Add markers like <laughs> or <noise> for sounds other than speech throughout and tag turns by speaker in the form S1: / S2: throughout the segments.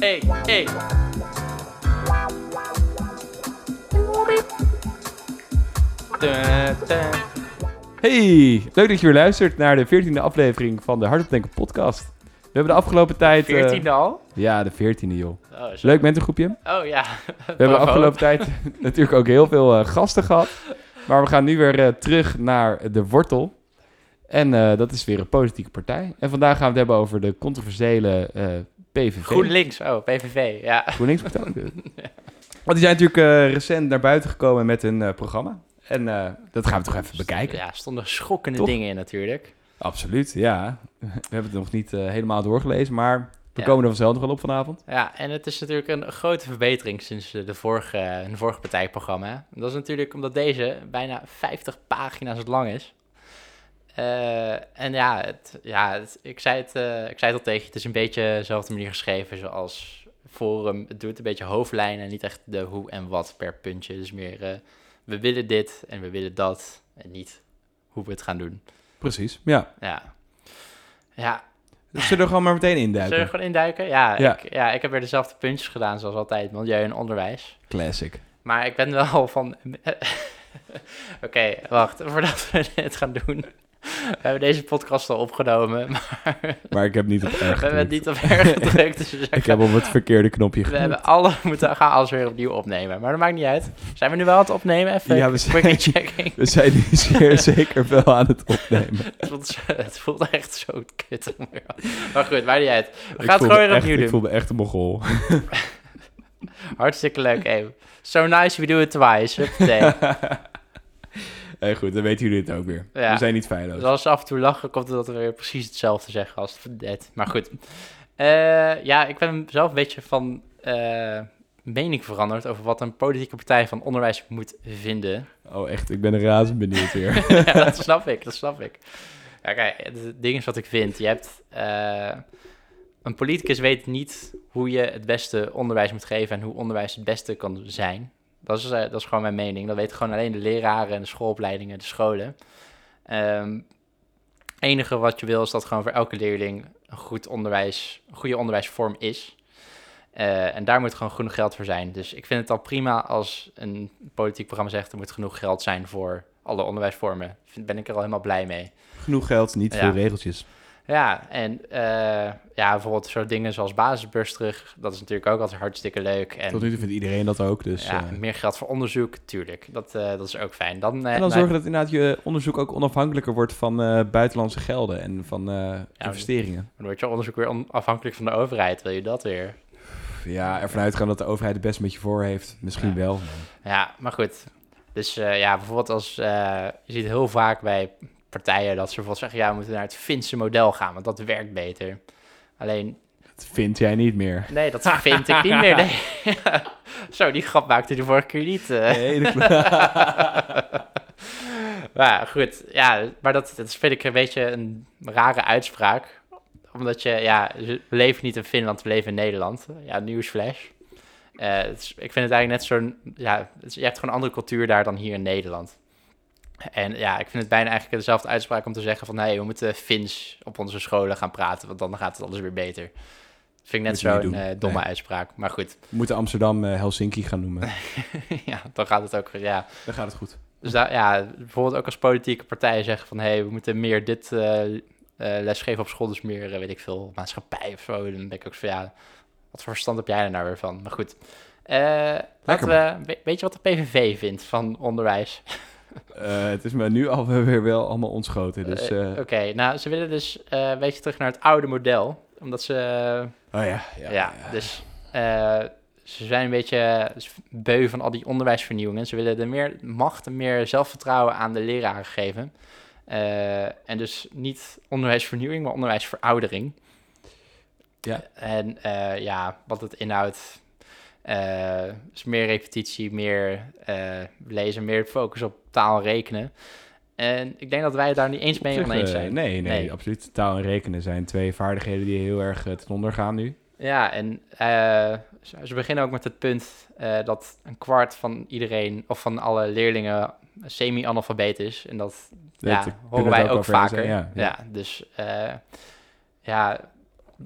S1: Hey, hey.
S2: Hey, leuk dat je weer luistert naar de 14e aflevering van de Hardop Denken podcast. We hebben de afgelopen tijd... eh,
S1: 14 al?
S2: ja, de 14e joh.
S1: Oh, zo.
S2: Leuk mentorgroepje.
S1: Oh ja.
S2: We hebben de afgelopen tijd <laughs> natuurlijk ook heel veel eh, gasten gehad. Maar we gaan nu weer eh, terug naar de wortel. En eh, dat is weer een politieke partij. En vandaag gaan we het hebben over de controversiële eh PVV.
S1: GroenLinks, oh, PVV, ja.
S2: GroenLinks partij. Want die zijn natuurlijk eh, recent naar buiten gekomen met een eh, programma. En eh, dat gaan we toch even bekijken.
S1: Ja, stonden schokkende
S2: Toch?
S1: dingen in natuurlijk.
S2: Absoluut, ja. <laughs> We hebben het nog niet eh, helemaal doorgelezen, maar we
S1: Ja.
S2: komen er vanzelf nog wel op vanavond.
S1: Ja, en het is natuurlijk een grote verbetering sinds eh, de vorige, hun vorige partijprogramma. Dat is natuurlijk omdat deze bijna 50 pagina's lang is. Eh, en ja, het, ja het- ik, zei het, eh, ik zei het al tegen je, het is een beetje dezelfde manier geschreven zoals Forum. Het doet een beetje hoofdlijnen en niet echt de hoe en wat per puntje. Dus meer, eh, we willen dit en we willen dat en niet hoe we het gaan doen.
S2: Precies, ja.
S1: Ja, ja
S2: Zullen we gewoon maar meteen
S1: Zullen we
S2: induiken?
S1: gewoon induiken? Ja,
S2: Ja.
S1: Ik, ja, ik heb weer dezelfde puntjes gedaan zoals altijd, milieu en onderwijs.
S2: Classic.
S1: Maar ik ben wel <laughs> van... Oké, wacht, voordat we dit gaan doen... We hebben deze podcast al opgenomen, maar
S2: Maar ik heb niet op
S1: we
S2: erg
S1: hebben het
S2: gedrukt.
S1: niet op erg gedrukt. Dus we, zeggen,
S2: Ik heb op het verkeerde knopje
S1: we
S2: gedrukt.
S1: hebben alle, moeten gaan alles weer opnieuw opnemen. Maar dat maakt niet uit. Zijn we nu wel aan het opnemen? Even
S2: Ja, we zijn-
S1: quickly checking.
S2: <laughs> We zijn nu
S1: <laughs>
S2: zeer zeker wel aan het opnemen.
S1: Het voelt, zo- het voelt echt zo kut. om weer af- Maar goed, maakt niet uit. We
S2: Ik
S1: gaan het
S2: voel
S1: gewoon
S2: me
S1: weer
S2: echt-
S1: opnieuw
S2: Ik
S1: doen.
S2: voel me echt een mogol. <laughs>
S1: Hartstikke leuk, Abe. So nice, we do it twice. Huppatee.
S2: Eh, goed, dan weten jullie het ook weer.
S1: Ja.
S2: We zijn niet feilloos.
S1: Dus als ze af en toe lachen, komt het dat we weer precies hetzelfde zeggen als net. Maar goed. Eh, ja, ik ben zelf een beetje van eh, mening veranderd over wat een politieke partij van onderwijs moet vinden.
S2: Oh, echt, ik ben er razend benieuwd
S1: <laughs>
S2: weer.
S1: ja, dat snap ik, dat snap ik. Ja, kijk, het ding is wat ik vind. Je hebt... eh, een politicus weet niet hoe je het beste onderwijs moet geven en hoe onderwijs het beste kan zijn. Dat is, eh, dat is gewoon mijn mening. Dat weten gewoon alleen de leraren en de schoolopleidingen, de scholen. Ehm, Het enige wat je wil is dat gewoon voor elke leerling een goed onderwijs, een goede onderwijsvorm is. Eh, en daar moet gewoon genoeg geld voor zijn. Dus ik vind het al prima als een politiek programma zegt er moet genoeg geld zijn voor alle onderwijsvormen. Vind- Ben ik er al helemaal blij mee.
S2: Genoeg geld, niet
S1: Ja.
S2: veel regeltjes.
S1: Ja, en eh, ja, bijvoorbeeld zo dingen zoals basisbeurs terug. Dat is natuurlijk ook altijd hartstikke leuk. En
S2: Tot nu toe vindt iedereen dat ook, dus...
S1: ja,
S2: eh.
S1: meer geld voor onderzoek, tuurlijk. Dat, eh, dat is ook fijn. Dan, eh,
S2: En dan
S1: nou,
S2: zorgen dat inderdaad je onderzoek ook onafhankelijker wordt van eh, buitenlandse gelden en van eh, investeringen.
S1: dan wordt je onderzoek weer on- afhankelijk van de overheid. Wil je dat weer?
S2: Ja, ervan uitgaan dat de overheid het best met je voor heeft. Misschien
S1: Ja.
S2: wel.
S1: Ja, maar goed. Dus eh, ja, bijvoorbeeld als... eh, je ziet heel vaak bij partijen dat ze bijvoorbeeld zeggen... Ja, we moeten naar het Finse model gaan, want dat werkt beter. Alleen,
S2: Dat vind jij niet meer.
S1: nee, dat vind ik niet meer. Nee. <laughs> Zo, die grap maakte je de vorige keer niet. eh.
S2: <laughs> Nee, dat klopt.
S1: <laughs> Maar goed, ja, maar dat, dat vind ik een beetje een rare uitspraak. Omdat je, ja, we leven niet in Finland, we leven in Nederland. Ja, nieuwsflash. Eh, het is- ik vind het eigenlijk net zo'n, ja, het is- je hebt gewoon een andere cultuur daar dan hier in Nederland. En ja, ik vind het bijna eigenlijk dezelfde uitspraak om te zeggen van... hé, hey, we moeten Fins op onze scholen gaan praten, want dan gaat het alles weer beter. Vind ik net
S2: Moet je niet
S1: zo'n
S2: doen.
S1: eh, domme
S2: Nee.
S1: uitspraak. Maar goed, <laughs>
S2: We moeten Amsterdam eh, Helsinki gaan noemen.
S1: ja, dan gaat het ook, ja...
S2: Dan gaat het goed.
S1: Dus daar, ja, bijvoorbeeld ook als politieke partijen zeggen van... hé, hey, we moeten meer dit eh eh, lesgeven op school, dus meer, eh, weet ik veel, maatschappij of zo. Dan denk ik ook van, ja, wat voor verstand heb jij er nou weer van? Maar goed, Eh laten we... we- Weet je wat de PVV vindt van onderwijs?
S2: Eh, het is me nu al weer wel allemaal ontschoten. Dus,
S1: Eh,
S2: eh,
S1: Oké, nou, ze willen dus eh, een beetje terug naar het oude model. Omdat ze...
S2: oh ja, ja,
S1: ja, dus... eh, ze zijn een beetje eh, beu van al die onderwijsvernieuwingen. Ze willen er meer macht en meer zelfvertrouwen aan de leraren geven. Eh, en dus niet onderwijsvernieuwing, maar onderwijsveroudering.
S2: Ja.
S1: En eh, ja, wat het inhoudt eh, is meer repetitie, meer eh, lezen, meer focus op taal en rekenen. En ik denk dat wij het daar niet eens
S2: Op
S1: mee
S2: zich,
S1: oneens
S2: eh,
S1: zijn.
S2: nee, nee,
S1: Nee.
S2: absoluut. Taal en rekenen zijn twee vaardigheden die heel erg eh, ten onder gaan nu.
S1: Ja, en eh, ze- ze beginnen ook met het punt eh, dat een kwart van iedereen of van alle leerlingen semi-analfabeet is. En dat
S2: Dat
S1: ja,
S2: kunnen we
S1: horen
S2: het
S1: wij ook,
S2: over eens
S1: vaker.
S2: zijn,
S1: ja,
S2: Ja, ja.
S1: dus eh, ja,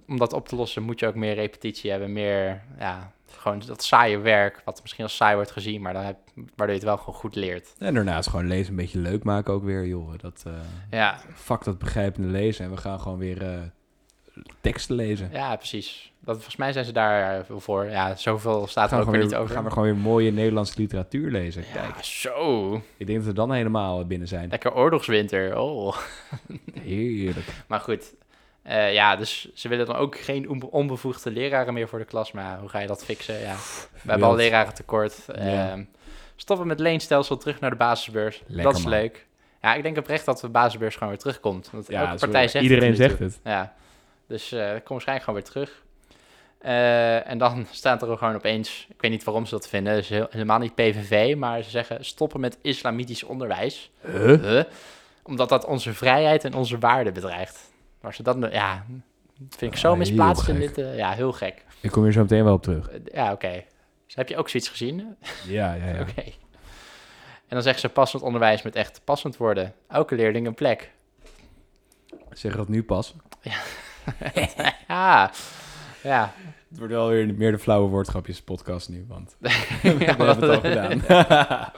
S1: om dat op te lossen moet je ook meer repetitie hebben, meer ja, gewoon dat saaie werk, wat misschien als saai wordt gezien, maar dan heb, waardoor je het wel gewoon goed leert.
S3: En daarnaast gewoon lezen een beetje leuk maken ook weer, joh. Dat eh
S1: Ja,
S3: vak dat begrijpende lezen. En we gaan gewoon weer eh, teksten lezen.
S1: ja precies. Dat, volgens mij zijn ze daar eh, voor. Ja, zoveel staat er
S3: gaan,
S1: ook
S3: we
S1: weer
S3: gewoon
S1: niet
S3: weer,
S1: over.
S3: gaan we gewoon weer mooie Nederlandse literatuur lezen. Kijk,
S1: ja, zo.
S3: ik denk dat we dan helemaal binnen zijn.
S1: Lekker oorlogswinter. Oh.
S3: Heerlijk.
S1: Maar goed, eh, ja, dus ze willen dan ook geen onbe- onbevoegde leraren meer voor de klas. Maar hoe ga je dat fixen? Ja, we hebben al
S3: Wild.
S1: leraren tekort. Ehm,
S3: Ja.
S1: stoppen met leenstelsel, terug naar de basisbeurs.
S3: Lekker,
S1: dat is
S3: man.
S1: leuk. Ja, ik denk oprecht dat de basisbeurs gewoon weer terugkomt. Want
S3: Ja,
S1: elke
S3: zo-
S1: partij zegt
S3: iedereen
S1: het er nu
S3: zegt het.
S1: toe. Ja, dus eh dat komt waarschijnlijk gewoon weer terug. Eh, en dan <laughs> staat er gewoon opeens, ik weet niet waarom ze dat vinden, dus heel- helemaal niet PVV, maar ze zeggen stoppen met islamitisch onderwijs. Huh? Omdat dat onze vrijheid en onze waarden bedreigt. Maar ze dat, nou- ja, dat vind ik zo
S3: Ja,
S1: misplaatst
S3: heel
S1: in
S3: gek.
S1: dit, eh, ja, heel gek.
S3: Ik kom hier zo meteen wel op terug.
S1: Eh, ja, oké. Dus heb je ook zoiets gezien?
S3: Ja, ja, ja.
S1: <laughs> Oké. En dan zeggen ze passend onderwijs moet echt passend worden. Elke leerling een plek.
S3: Zeg dat nu pas.
S1: ja, Ah, ja.
S3: Het wordt wel weer meer de flauwe woordgrapjes podcast nu, want
S1: <laughs>
S3: we
S1: Ja,
S3: hebben het al
S1: wat-
S3: gedaan.
S1: <laughs>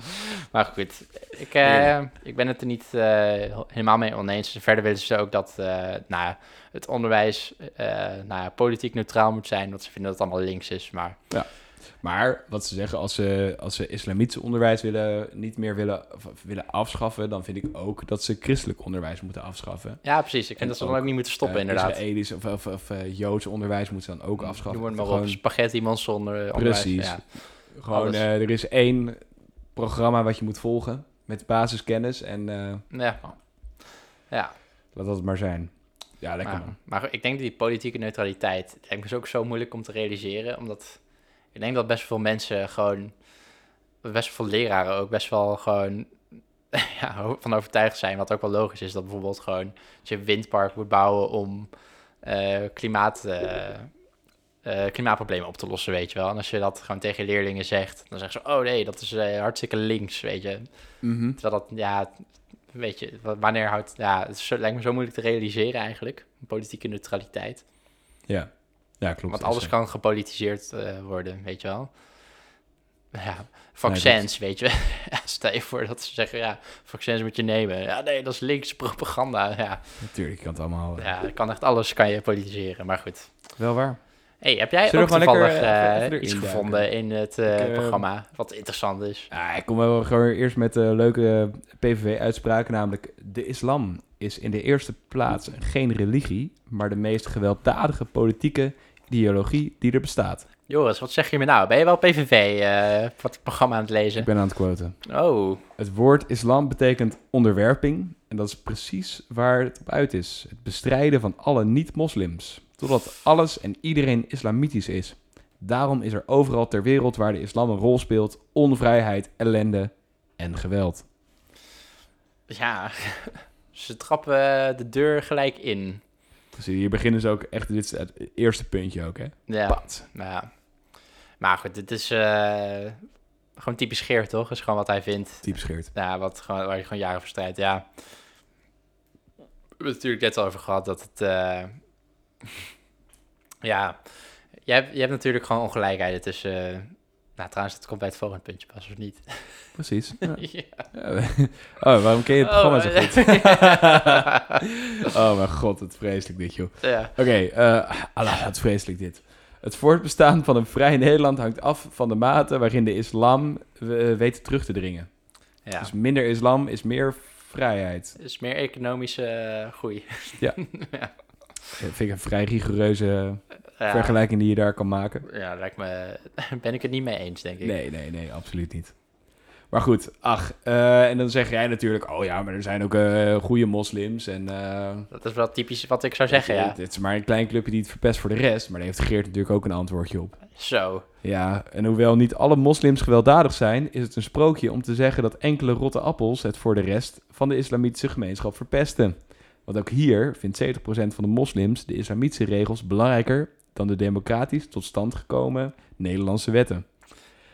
S1: Maar goed, ik, eh, ik ben het er niet eh, helemaal mee oneens. Dus Verder willen ze ook dat eh, nou, ja, het onderwijs eh, nou, ja, politiek neutraal moet zijn. Want ze vinden dat het allemaal links is. Maar
S3: maar wat ze zeggen, als ze, als ze islamitisch onderwijs willen, niet meer willen, of- of willen afschaffen, dan vind ik ook dat ze christelijk onderwijs moeten afschaffen.
S1: Ja, precies. Ik
S3: En
S1: vind dat ze dan
S3: ook,
S1: ook niet moeten stoppen,
S3: Eh,
S1: inderdaad.
S3: Israëlisch of, of, of eh, Joods onderwijs moeten ze dan ook afschaffen.
S1: Noem het maar op.
S3: Gewoon-
S1: Spaghetti, manson, eh, onderwijs.
S3: Precies.
S1: Ja.
S3: Gewoon,
S1: Alles.
S3: eh, er is één programma wat je moet volgen met basiskennis en eh,
S1: Ja. ja.
S3: laat dat het maar zijn. Ja, lekker
S1: Maar,
S3: man.
S1: maar ik denk dat die politieke neutraliteit... Ik denk is dus ook zo moeilijk om te realiseren. Omdat ik denk dat best veel mensen gewoon... Best veel leraren ook best wel gewoon... <laughs> Ja, van overtuigd zijn. Wat ook wel logisch is. Dat bijvoorbeeld gewoon... Dat je een windpark moet bouwen om eh, klimaat... eh, eh, klimaatproblemen op te lossen, weet je wel. En als je dat gewoon tegen je leerlingen zegt, dan zeggen ze... oh nee, dat is eh, hartstikke links, weet je.
S3: Mhm.
S1: Terwijl dat, ja, weet je, wa- wanneer houdt... Ja, het is zo- lijkt me zo moeilijk te realiseren eigenlijk, politieke neutraliteit.
S3: Ja. ja, klopt.
S1: Want alles
S3: Is,
S1: kan gepolitiseerd eh, worden, weet je wel. Ja, vaccins, weet je. <laughs> Ja, Stel je voor dat ze zeggen, ja, vaccins moet je nemen. Ja, nee, dat is linkse propaganda. Ja,
S3: eh, Natuurlijk, je kan het allemaal. eh,
S1: ja kan echt alles kan je politiseren, maar goed.
S3: Wel waar.
S1: hey, heb jij
S3: Zullen
S1: ook
S3: we gewoon
S1: toevallig
S3: lekker, eh,
S1: eh,
S3: even- even
S1: iets
S3: erin
S1: gevonden in het eh,
S3: Ik, eh,
S1: programma wat interessant is?
S3: Ah, ik kom wel gewoon eerst met eh, leuke PVV-uitspraken, namelijk de islam is in de eerste plaats geen religie, maar de meest gewelddadige politieke ideologie die er bestaat.
S1: Joris, wat zeg je me nou? Ben je wel PVV-programma aan eh, het
S3: Ik
S1: lezen?
S3: ben aan het quoten.
S1: Oh,
S3: Het woord islam betekent onderwerping en dat is precies waar het op uit is. Het bestrijden van alle niet-moslims, totdat alles en iedereen islamitisch is. Daarom is er overal ter wereld waar de islam een rol speelt onvrijheid, ellende en geweld.
S1: Ja, <laughs> ze trappen de deur gelijk in.
S3: Dus hier beginnen ze ook echt, dit is het eerste puntje ook hè.
S1: Ja,
S3: Pat.
S1: ja. Maar goed, dit is eh, gewoon typisch Geert, toch? is gewoon wat hij vindt.
S3: Diep scheert.
S1: Ja, wat, gewoon, waar je gewoon jaren voor strijdt, ja. We hebben het natuurlijk net al over gehad dat het... eh, <laughs> ja, je hebt, je hebt natuurlijk gewoon ongelijkheden tussen... eh, nou, trouwens, dat komt bij het volgende puntje pas, of niet? <laughs>
S3: Precies. Ja.
S1: Ja.
S3: <laughs> Oh, waarom ken je het programma zo
S1: Oh,
S3: goed? oh mijn god, het vreselijk dit joh.
S1: <laughs> ja.
S3: Oké, eh Allah, wat vreselijk dit. Het voortbestaan van een vrij Nederland hangt af van de mate waarin de islam eh, weet terug te dringen.
S1: ja.
S3: Dus minder islam is meer vrijheid.
S1: is meer economische eh, groei.
S3: Dat vind ik een vrij rigoureuze
S1: Ja.
S3: vergelijking die je daar kan maken.
S1: Ja, lijkt me. <laughs> Ben ik het niet mee eens, denk ik.
S3: Nee, nee, nee, absoluut niet. Maar goed, ach, eh, en dan zeg jij natuurlijk, oh ja, maar er zijn ook eh, goede moslims en... eh,
S1: Dat is wel typisch wat ik zou zeggen,
S3: het,
S1: ja.
S3: het- het is maar een klein clubje die het verpest voor de rest, maar daar heeft Geert natuurlijk ook een antwoordje op.
S1: Zo.
S3: Ja, en hoewel niet alle moslims gewelddadig zijn, is het een sprookje om te zeggen dat enkele rotte appels het voor de rest van de islamitische gemeenschap verpesten. Want ook hier vindt 70% van de moslims de islamitische regels belangrijker dan de democratisch tot stand gekomen Nederlandse wetten.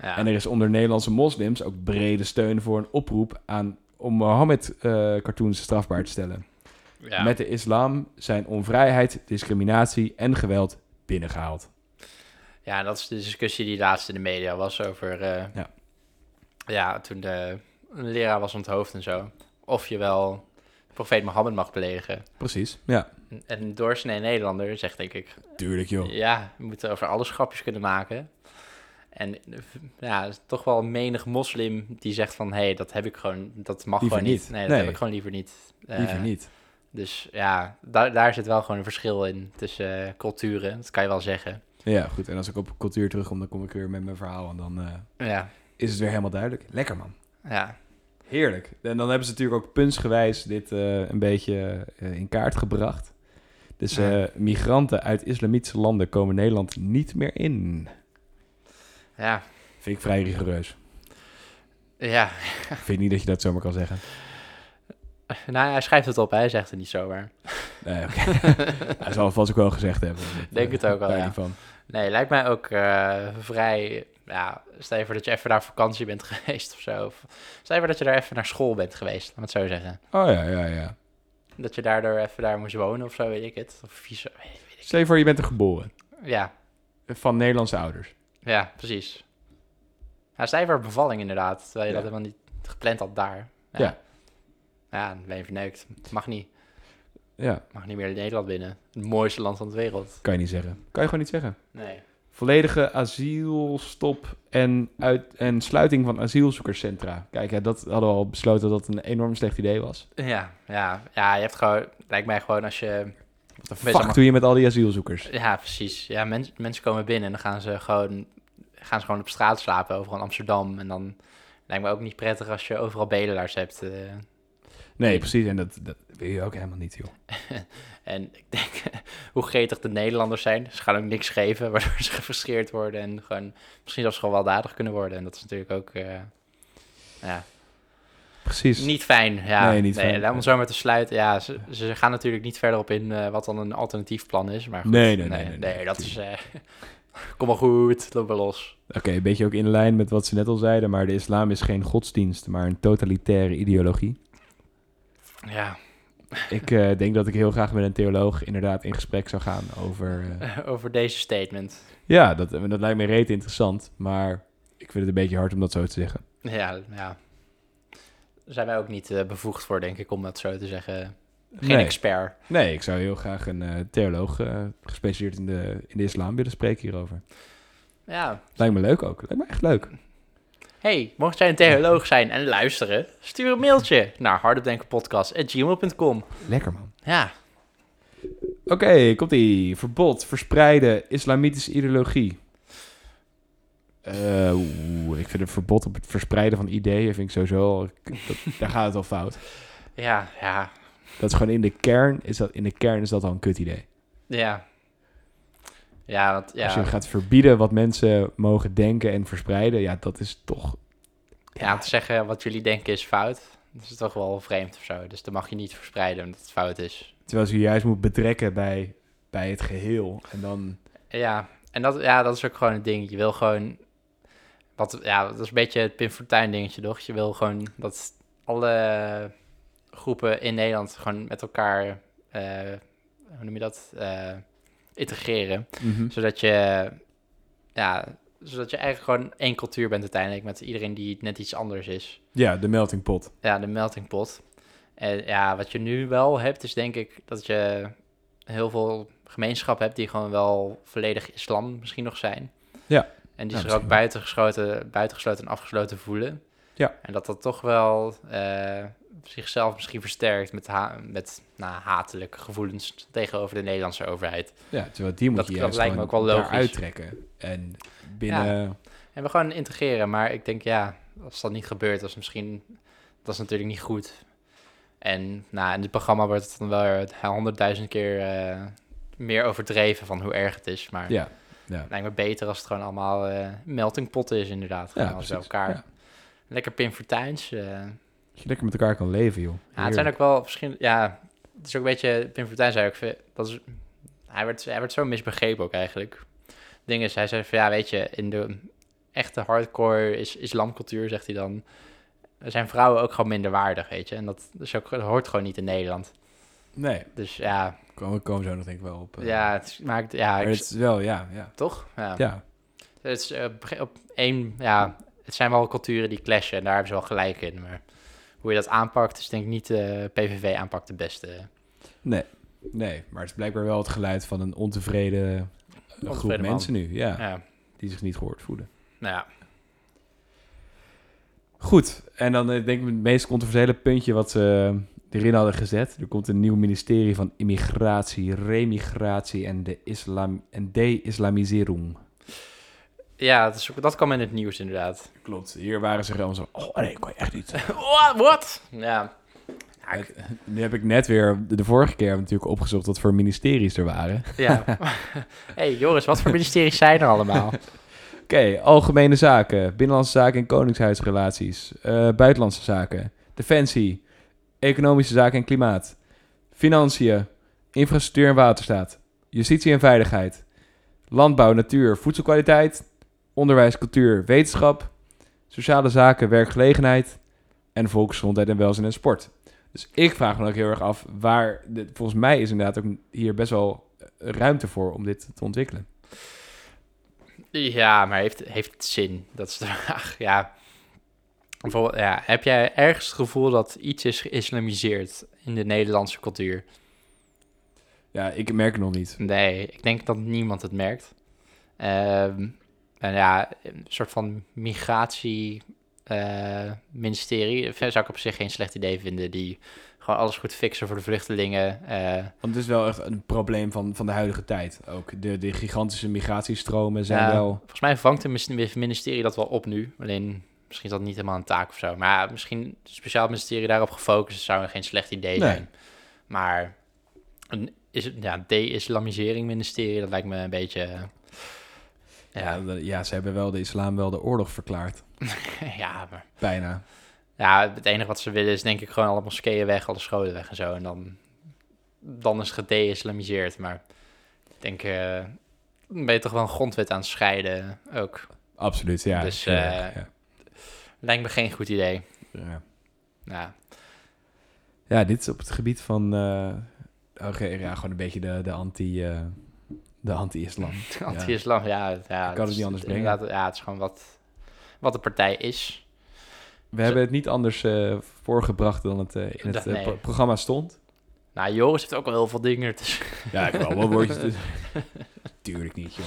S1: Ja.
S3: En er is onder Nederlandse moslims ook brede steun voor een oproep aan om Mohammed-cartoons eh, strafbaar te stellen.
S1: Ja.
S3: met de islam zijn onvrijheid, discriminatie en geweld binnengehaald.
S1: Ja, dat is de discussie die laatst in de media was over... eh,
S3: Ja.
S1: ja, toen de een leraar was onthoofd en zo. Of je wel profeet Mohammed mag beledigen.
S3: Precies. Ja,
S1: En een doorsnee Nederlander zegt denk ik...
S3: tuurlijk joh.
S1: Ja, we moeten over alles grapjes kunnen maken. En eh, ja, er is toch wel menig moslim die zegt van... hé, hey, dat heb ik gewoon... dat mag
S3: Liever
S1: gewoon niet.
S3: niet.
S1: Nee, dat
S3: Nee.
S1: heb ik gewoon liever niet. Eh,
S3: Liever niet.
S1: Dus ja, daar, daar zit wel gewoon een verschil in tussen eh, culturen. Dat kan je wel zeggen.
S3: Ja, goed. En als ik op cultuur terugkom, dan kom ik weer met mijn verhaal en dan eh,
S1: Ja,
S3: is het weer helemaal duidelijk. Lekker man.
S1: ja.
S3: Heerlijk. En dan hebben ze natuurlijk ook puntsgewijs dit eh, een beetje eh, in kaart gebracht. Dus eh, migranten uit islamitische landen komen Nederland niet meer in.
S1: Ja,
S3: Vind ik vrij rigoureus.
S1: ja. <laughs>
S3: Vind niet dat je dat zomaar kan zeggen.
S1: Nou, ja, hij schrijft het op, hè. hij zegt het niet zomaar.
S3: Nee, oké. Hij zal het vast ook wel gezegd
S1: <laughs>
S3: hebben.
S1: Denk het ook wel,
S3: Daar
S1: ja.
S3: niet Van.
S1: Nee, lijkt mij ook eh, vrij... Ja, stel je voor dat je even naar vakantie bent <laughs> geweest of zo. Of, stel je voor dat je daar even naar school bent geweest, laat me het zo zeggen.
S3: Oh ja, ja, ja.
S1: Dat je daardoor even daar moest wonen of zo, weet ik het. Of visa, weet- weet
S3: Stel je voor, je bent er geboren.
S1: ik. Ja,
S3: Van Nederlandse ouders.
S1: ja, precies. Ja, stel je voor bevalling inderdaad, terwijl je
S3: Ja.
S1: dat helemaal niet gepland had daar.
S3: Ja.
S1: Ja, dan ben je verneukt. Het Mag niet,
S3: Ja,
S1: mag niet meer in Nederland binnen. Het mooiste land van de wereld.
S3: kan je niet zeggen. Kan je gewoon niet zeggen.
S1: Nee.
S3: Volledige asielstop en, uit, en sluiting van asielzoekerscentra. Kijk, hè, dat hadden we al besloten dat het een enorm slecht idee was.
S1: Ja, ja, ja, je hebt gewoon, lijkt mij gewoon als je
S3: Wat de
S1: Weet
S3: fuck
S1: je maar-
S3: doe je met al die asielzoekers?
S1: Ja, precies. Ja, mens- mensen komen binnen en dan gaan ze gewoon, gaan ze gewoon op straat slapen, overal in Amsterdam. En dan lijkt me ook niet prettig als je overal bedelaars hebt. eh.
S3: Nee, precies. En dat, dat wil je ook helemaal niet, joh.
S1: en ik denk, <laughs> hoe gretig de Nederlanders zijn, ze gaan ook niks geven, <laughs> waardoor ze gefrustreerd worden en gewoon, misschien zelfs gewoon weldadig kunnen worden. En dat is natuurlijk ook eh, ja,
S3: Precies.
S1: niet fijn. Ja.
S3: Nee, niet fijn.
S1: Laat ons zo maar te sluiten. Ja, ze, ze gaan natuurlijk niet verder op in eh, wat dan een alternatief plan is. Maar goed,
S3: Nee, nee, nee, nee, nee,
S1: dat is... eh, <laughs> kom maar goed, loop maar los.
S3: Oké, een beetje ook in lijn met wat ze net al zeiden, maar de islam is geen godsdienst, maar een totalitaire <laughs> ideologie.
S1: Ja,
S3: Ik eh, denk dat ik heel graag met een theoloog inderdaad in gesprek zou gaan over... eh, <laughs>
S1: <laughs> over deze statement.
S3: Ja, dat, dat lijkt me reet interessant, maar ik vind het een beetje hard om dat zo te zeggen.
S1: Ja, ja. Daar zijn wij ook niet eh, bevoegd voor, denk ik, om dat zo te zeggen. Geen
S3: Nee.
S1: expert.
S3: Nee, ik zou heel graag een eh, theoloog eh, gespecialiseerd in de, in de islam willen spreken hierover.
S1: Ja.
S3: Lijkt me leuk ook. Lijkt me echt leuk.
S1: Hey, mocht jij een theoloog zijn en luisteren, stuur een mailtje naar hardopdenkenpodcast.gmail.com.
S3: Lekker man.
S1: Ja,
S3: Oké, komt ie. Verbod, verspreiden, islamitische ideologie. Eh, oeh, ik vind het verbod op het verspreiden van ideeën vind ik sowieso al- dat- daar gaat het al fout.
S1: ja, ja,
S3: Dat is gewoon in de kern is dat in de kern is dat al een kut idee.
S1: ja. Ja, want
S3: Als je
S1: ja,
S3: gaat verbieden wat mensen mogen denken en verspreiden, ja, dat is toch
S1: ja, om te zeggen wat jullie denken is fout, dat is toch wel vreemd of zo. Dus dat mag je niet verspreiden omdat het fout is.
S3: terwijl ze juist moet betrekken bij, bij het geheel en dan
S1: Ja, en dat, ja, dat is ook gewoon het ding. Je wil gewoon... Wat, ja, dat is een beetje het Pim Fortuyn dingetje, toch? Je wil gewoon dat alle groepen in Nederland gewoon met elkaar... eh, hoe noem je dat? eh, integreren. Zodat je... Ja, zodat je eigenlijk gewoon één cultuur bent uiteindelijk... met iedereen die net iets anders is.
S3: ja, de melting pot.
S1: Ja, de melting pot. En ja, wat je nu wel hebt, is denk ik dat je heel veel gemeenschap hebt die gewoon wel volledig islam misschien nog zijn.
S3: Ja.
S1: En die zich ook
S3: Ja, misschien wel.
S1: buitengesloten, buitengesloten en afgesloten voelen.
S3: Ja.
S1: En dat dat toch wel eh, zichzelf misschien versterkt met, ha- met nou, hatelijke gevoelens tegenover de Nederlandse overheid.
S3: Ja, terwijl die moet
S1: Dat-
S3: je
S1: dat
S3: juist
S1: lijkt me
S3: gewoon
S1: ook wel
S3: daar
S1: logisch.
S3: uittrekken en binnen
S1: En we gewoon integreren, maar ik denk ja, als dat niet gebeurt, dat is misschien, dat is natuurlijk niet goed. En nou, in dit programma wordt het dan wel honderdduizend keer eh, meer overdreven van hoe erg het is, maar
S3: ja,
S1: het lijkt me beter als het gewoon allemaal eh meltingpotten is inderdaad,
S3: ja,
S1: gewoon als bij
S3: precies.
S1: elkaar.
S3: Ja.
S1: Lekker Pim Fortuyn's. eh.
S3: Dat je lekker met elkaar kan leven, joh.
S1: Ja, het zijn ook wel verschillende, ja, het is ook een beetje, Pim Fortuyn zei ook, ve- dat is, hij, werd, hij werd zo misbegrepen ook eigenlijk. Het ding is, hij zei van, ja, weet je, in de echte hardcore is, islamcultuur, zegt hij dan, zijn vrouwen ook gewoon minder waardig, weet je. En dat, is ook, dat hoort gewoon niet in Nederland.
S3: Nee,
S1: Dus ja,
S3: we komen, komen zo nog denk ik wel op. eh.
S1: ja het is- maakt... Ja,
S3: maar
S1: ik-
S3: het is wel, ja. Ja.
S1: toch? Ja.
S3: ja.
S1: Het is eh, op, een gege- op één... Ja, het zijn wel culturen die clashen. En daar hebben ze wel gelijk in. Maar hoe je dat aanpakt, is denk ik niet eh, de PVV aanpakt de beste.
S3: Nee, maar het is blijkbaar wel het geluid van een ontevreden, eh, groep
S1: man.
S3: mensen nu. Ja,
S1: Ja.
S3: die zich niet gehoord voelen.
S1: Nou ja,
S3: Goed, en dan eh, denk ik het meest controversiële puntje wat ze eh, erin hadden gezet. Er komt een nieuw ministerie van immigratie, remigratie en de islam en de-islamisering.
S1: ja het is ook- dat kwam in het nieuws <laughs> inderdaad.
S3: Klopt, hier waren ze gewoon zo, oh nee, ik kan je echt niet.
S1: Wha- Wat? Ja. Ja, ik-
S3: Het- nu heb ik net weer, de vorige keer natuurlijk opgezocht wat voor ministeries er waren.
S1: ja. <laughs> hey, Joris, wat voor ministeries zijn er allemaal?
S3: Oké, algemene zaken, binnenlandse zaken en koningshuisrelaties, eh, buitenlandse zaken, defensie, economische zaken en klimaat, financiën, infrastructuur en waterstaat, justitie en veiligheid, landbouw, natuur, voedselkwaliteit, onderwijs, cultuur, wetenschap, sociale zaken, werkgelegenheid en volksgezondheid en welzijn en sport. Dus ik vraag me ook heel erg af waar, dit- volgens mij is inderdaad ook hier best wel eh, ruimte voor om dit te ontwikkelen.
S1: Ja, maar heeft, heeft het zin? Dat is de <laughs> vraag. Ja. Bijvoorbeeld, ja, heb jij ergens het gevoel dat iets is geïslamiseerd in de Nederlandse cultuur?
S3: Ja, ik merk het nog niet.
S1: Nee, ik denk dat niemand het merkt. Ehm, en ja, een soort van migratie-ministerie eh, zou ik op zich geen slecht idee vinden. Die gewoon alles goed fixen voor de vluchtelingen. eh,
S3: Want het is wel echt een probleem van, van de huidige tijd ook. De, de gigantische migratiestromen zijn
S1: Ja.
S3: wel...
S1: Volgens mij vangt het mis- ministerie dat wel op nu. Alleen misschien is dat niet helemaal een taak of zo. Maar ja, misschien een speciaal ministerie daarop gefocust zou geen slecht idee
S3: Nee.
S1: zijn. Maar een is het ja, de-islamisering ministerie, dat lijkt me een beetje. eh,
S3: Ja.
S1: Ja, <laughs>
S3: de- ja, ze hebben wel de islam wel de oorlog verklaard.
S1: ja, maar,
S3: Bijna.
S1: ja, het enige wat ze willen is denk ik gewoon alle moskeeën weg, alle scholen weg en zo. En dan, dan is het gede-islamiseerd. Maar ik denk, eh ben je toch wel een grondwet aan het scheiden ook.
S3: Absoluut, ja.
S1: Dus,
S3: Ja,
S1: eh,
S3: ja,
S1: Lijkt me geen goed idee.
S3: ja.
S1: Nou,
S3: Ja, dit is op het gebied van... eh, Oké, ja, gewoon een beetje de, de anti... eh, de anti-islam.
S1: <laughs> Anti-islam, ja. ja,
S3: het
S1: dat
S3: niet
S1: is-
S3: anders
S1: inderdaad, Ja, het is gewoon wat, wat de partij is.
S3: We hebben het niet anders eh, voorgebracht dan het eh, in het
S1: Dat-
S3: eh,
S1: nee.
S3: pro- programma stond.
S1: Nou, Joris heeft ook al heel veel dingen. <laughs> Dus.
S3: Ja, ik heb wel wat woordjes.
S1: <laughs>
S3: tussen. Tuurlijk niet, joh.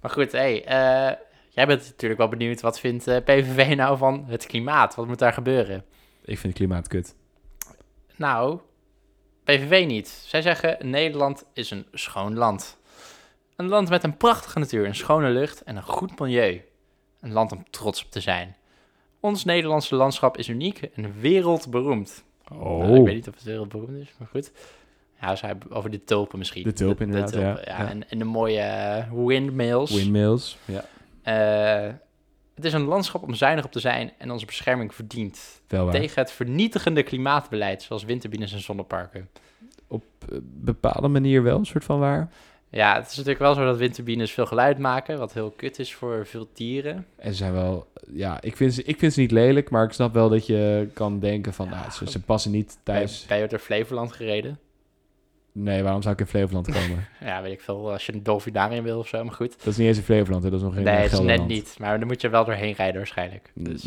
S1: Maar goed, hey, eh, jij bent natuurlijk wel benieuwd. Wat vindt eh, PVV nou van het klimaat? Wat moet daar gebeuren?
S3: Ik vind het klimaat kut.
S1: Nou, PVV niet. Zij zeggen, Nederland is een schoon land. Een land met een prachtige natuur, een schone lucht en een goed milieu. Een land om trots op te zijn. Ons Nederlandse landschap is uniek en wereldberoemd. Nou,
S3: Oh.
S1: ik weet niet of het wereldberoemd is, maar goed. Ja, ze hebben over de tulpen misschien.
S3: De tulpen inderdaad, ja. Ja.
S1: En, en de mooie eh, windmills.
S3: Windmills. Ja.
S1: Eh, het is een landschap om zuinig op te zijn en onze bescherming verdient.
S3: Wel waar.
S1: Tegen het vernietigende klimaatbeleid, zoals windturbines en zonneparken.
S3: op eh, bepaalde manier wel een soort van waar.
S1: Ja, het is natuurlijk wel zo dat windturbines veel geluid maken, wat heel kut is voor veel dieren.
S3: En ze zijn wel, ja, ik vind, ze, ik vind ze niet lelijk, maar ik snap wel dat je kan denken van,
S1: Ja.
S3: ah, ze, ze passen niet
S1: Bij,
S3: thuis.
S1: bij door Flevoland gereden.
S3: Nee, waarom zou ik in Flevoland komen? <laughs>
S1: Ja, weet ik veel, als je een dolfinarium wil of zo, maar goed.
S3: dat is niet eens in Flevoland, hè? dat is nog geen
S1: Nee, het is net
S3: Gelderland.
S1: niet, maar dan moet je wel doorheen rijden waarschijnlijk. Dus.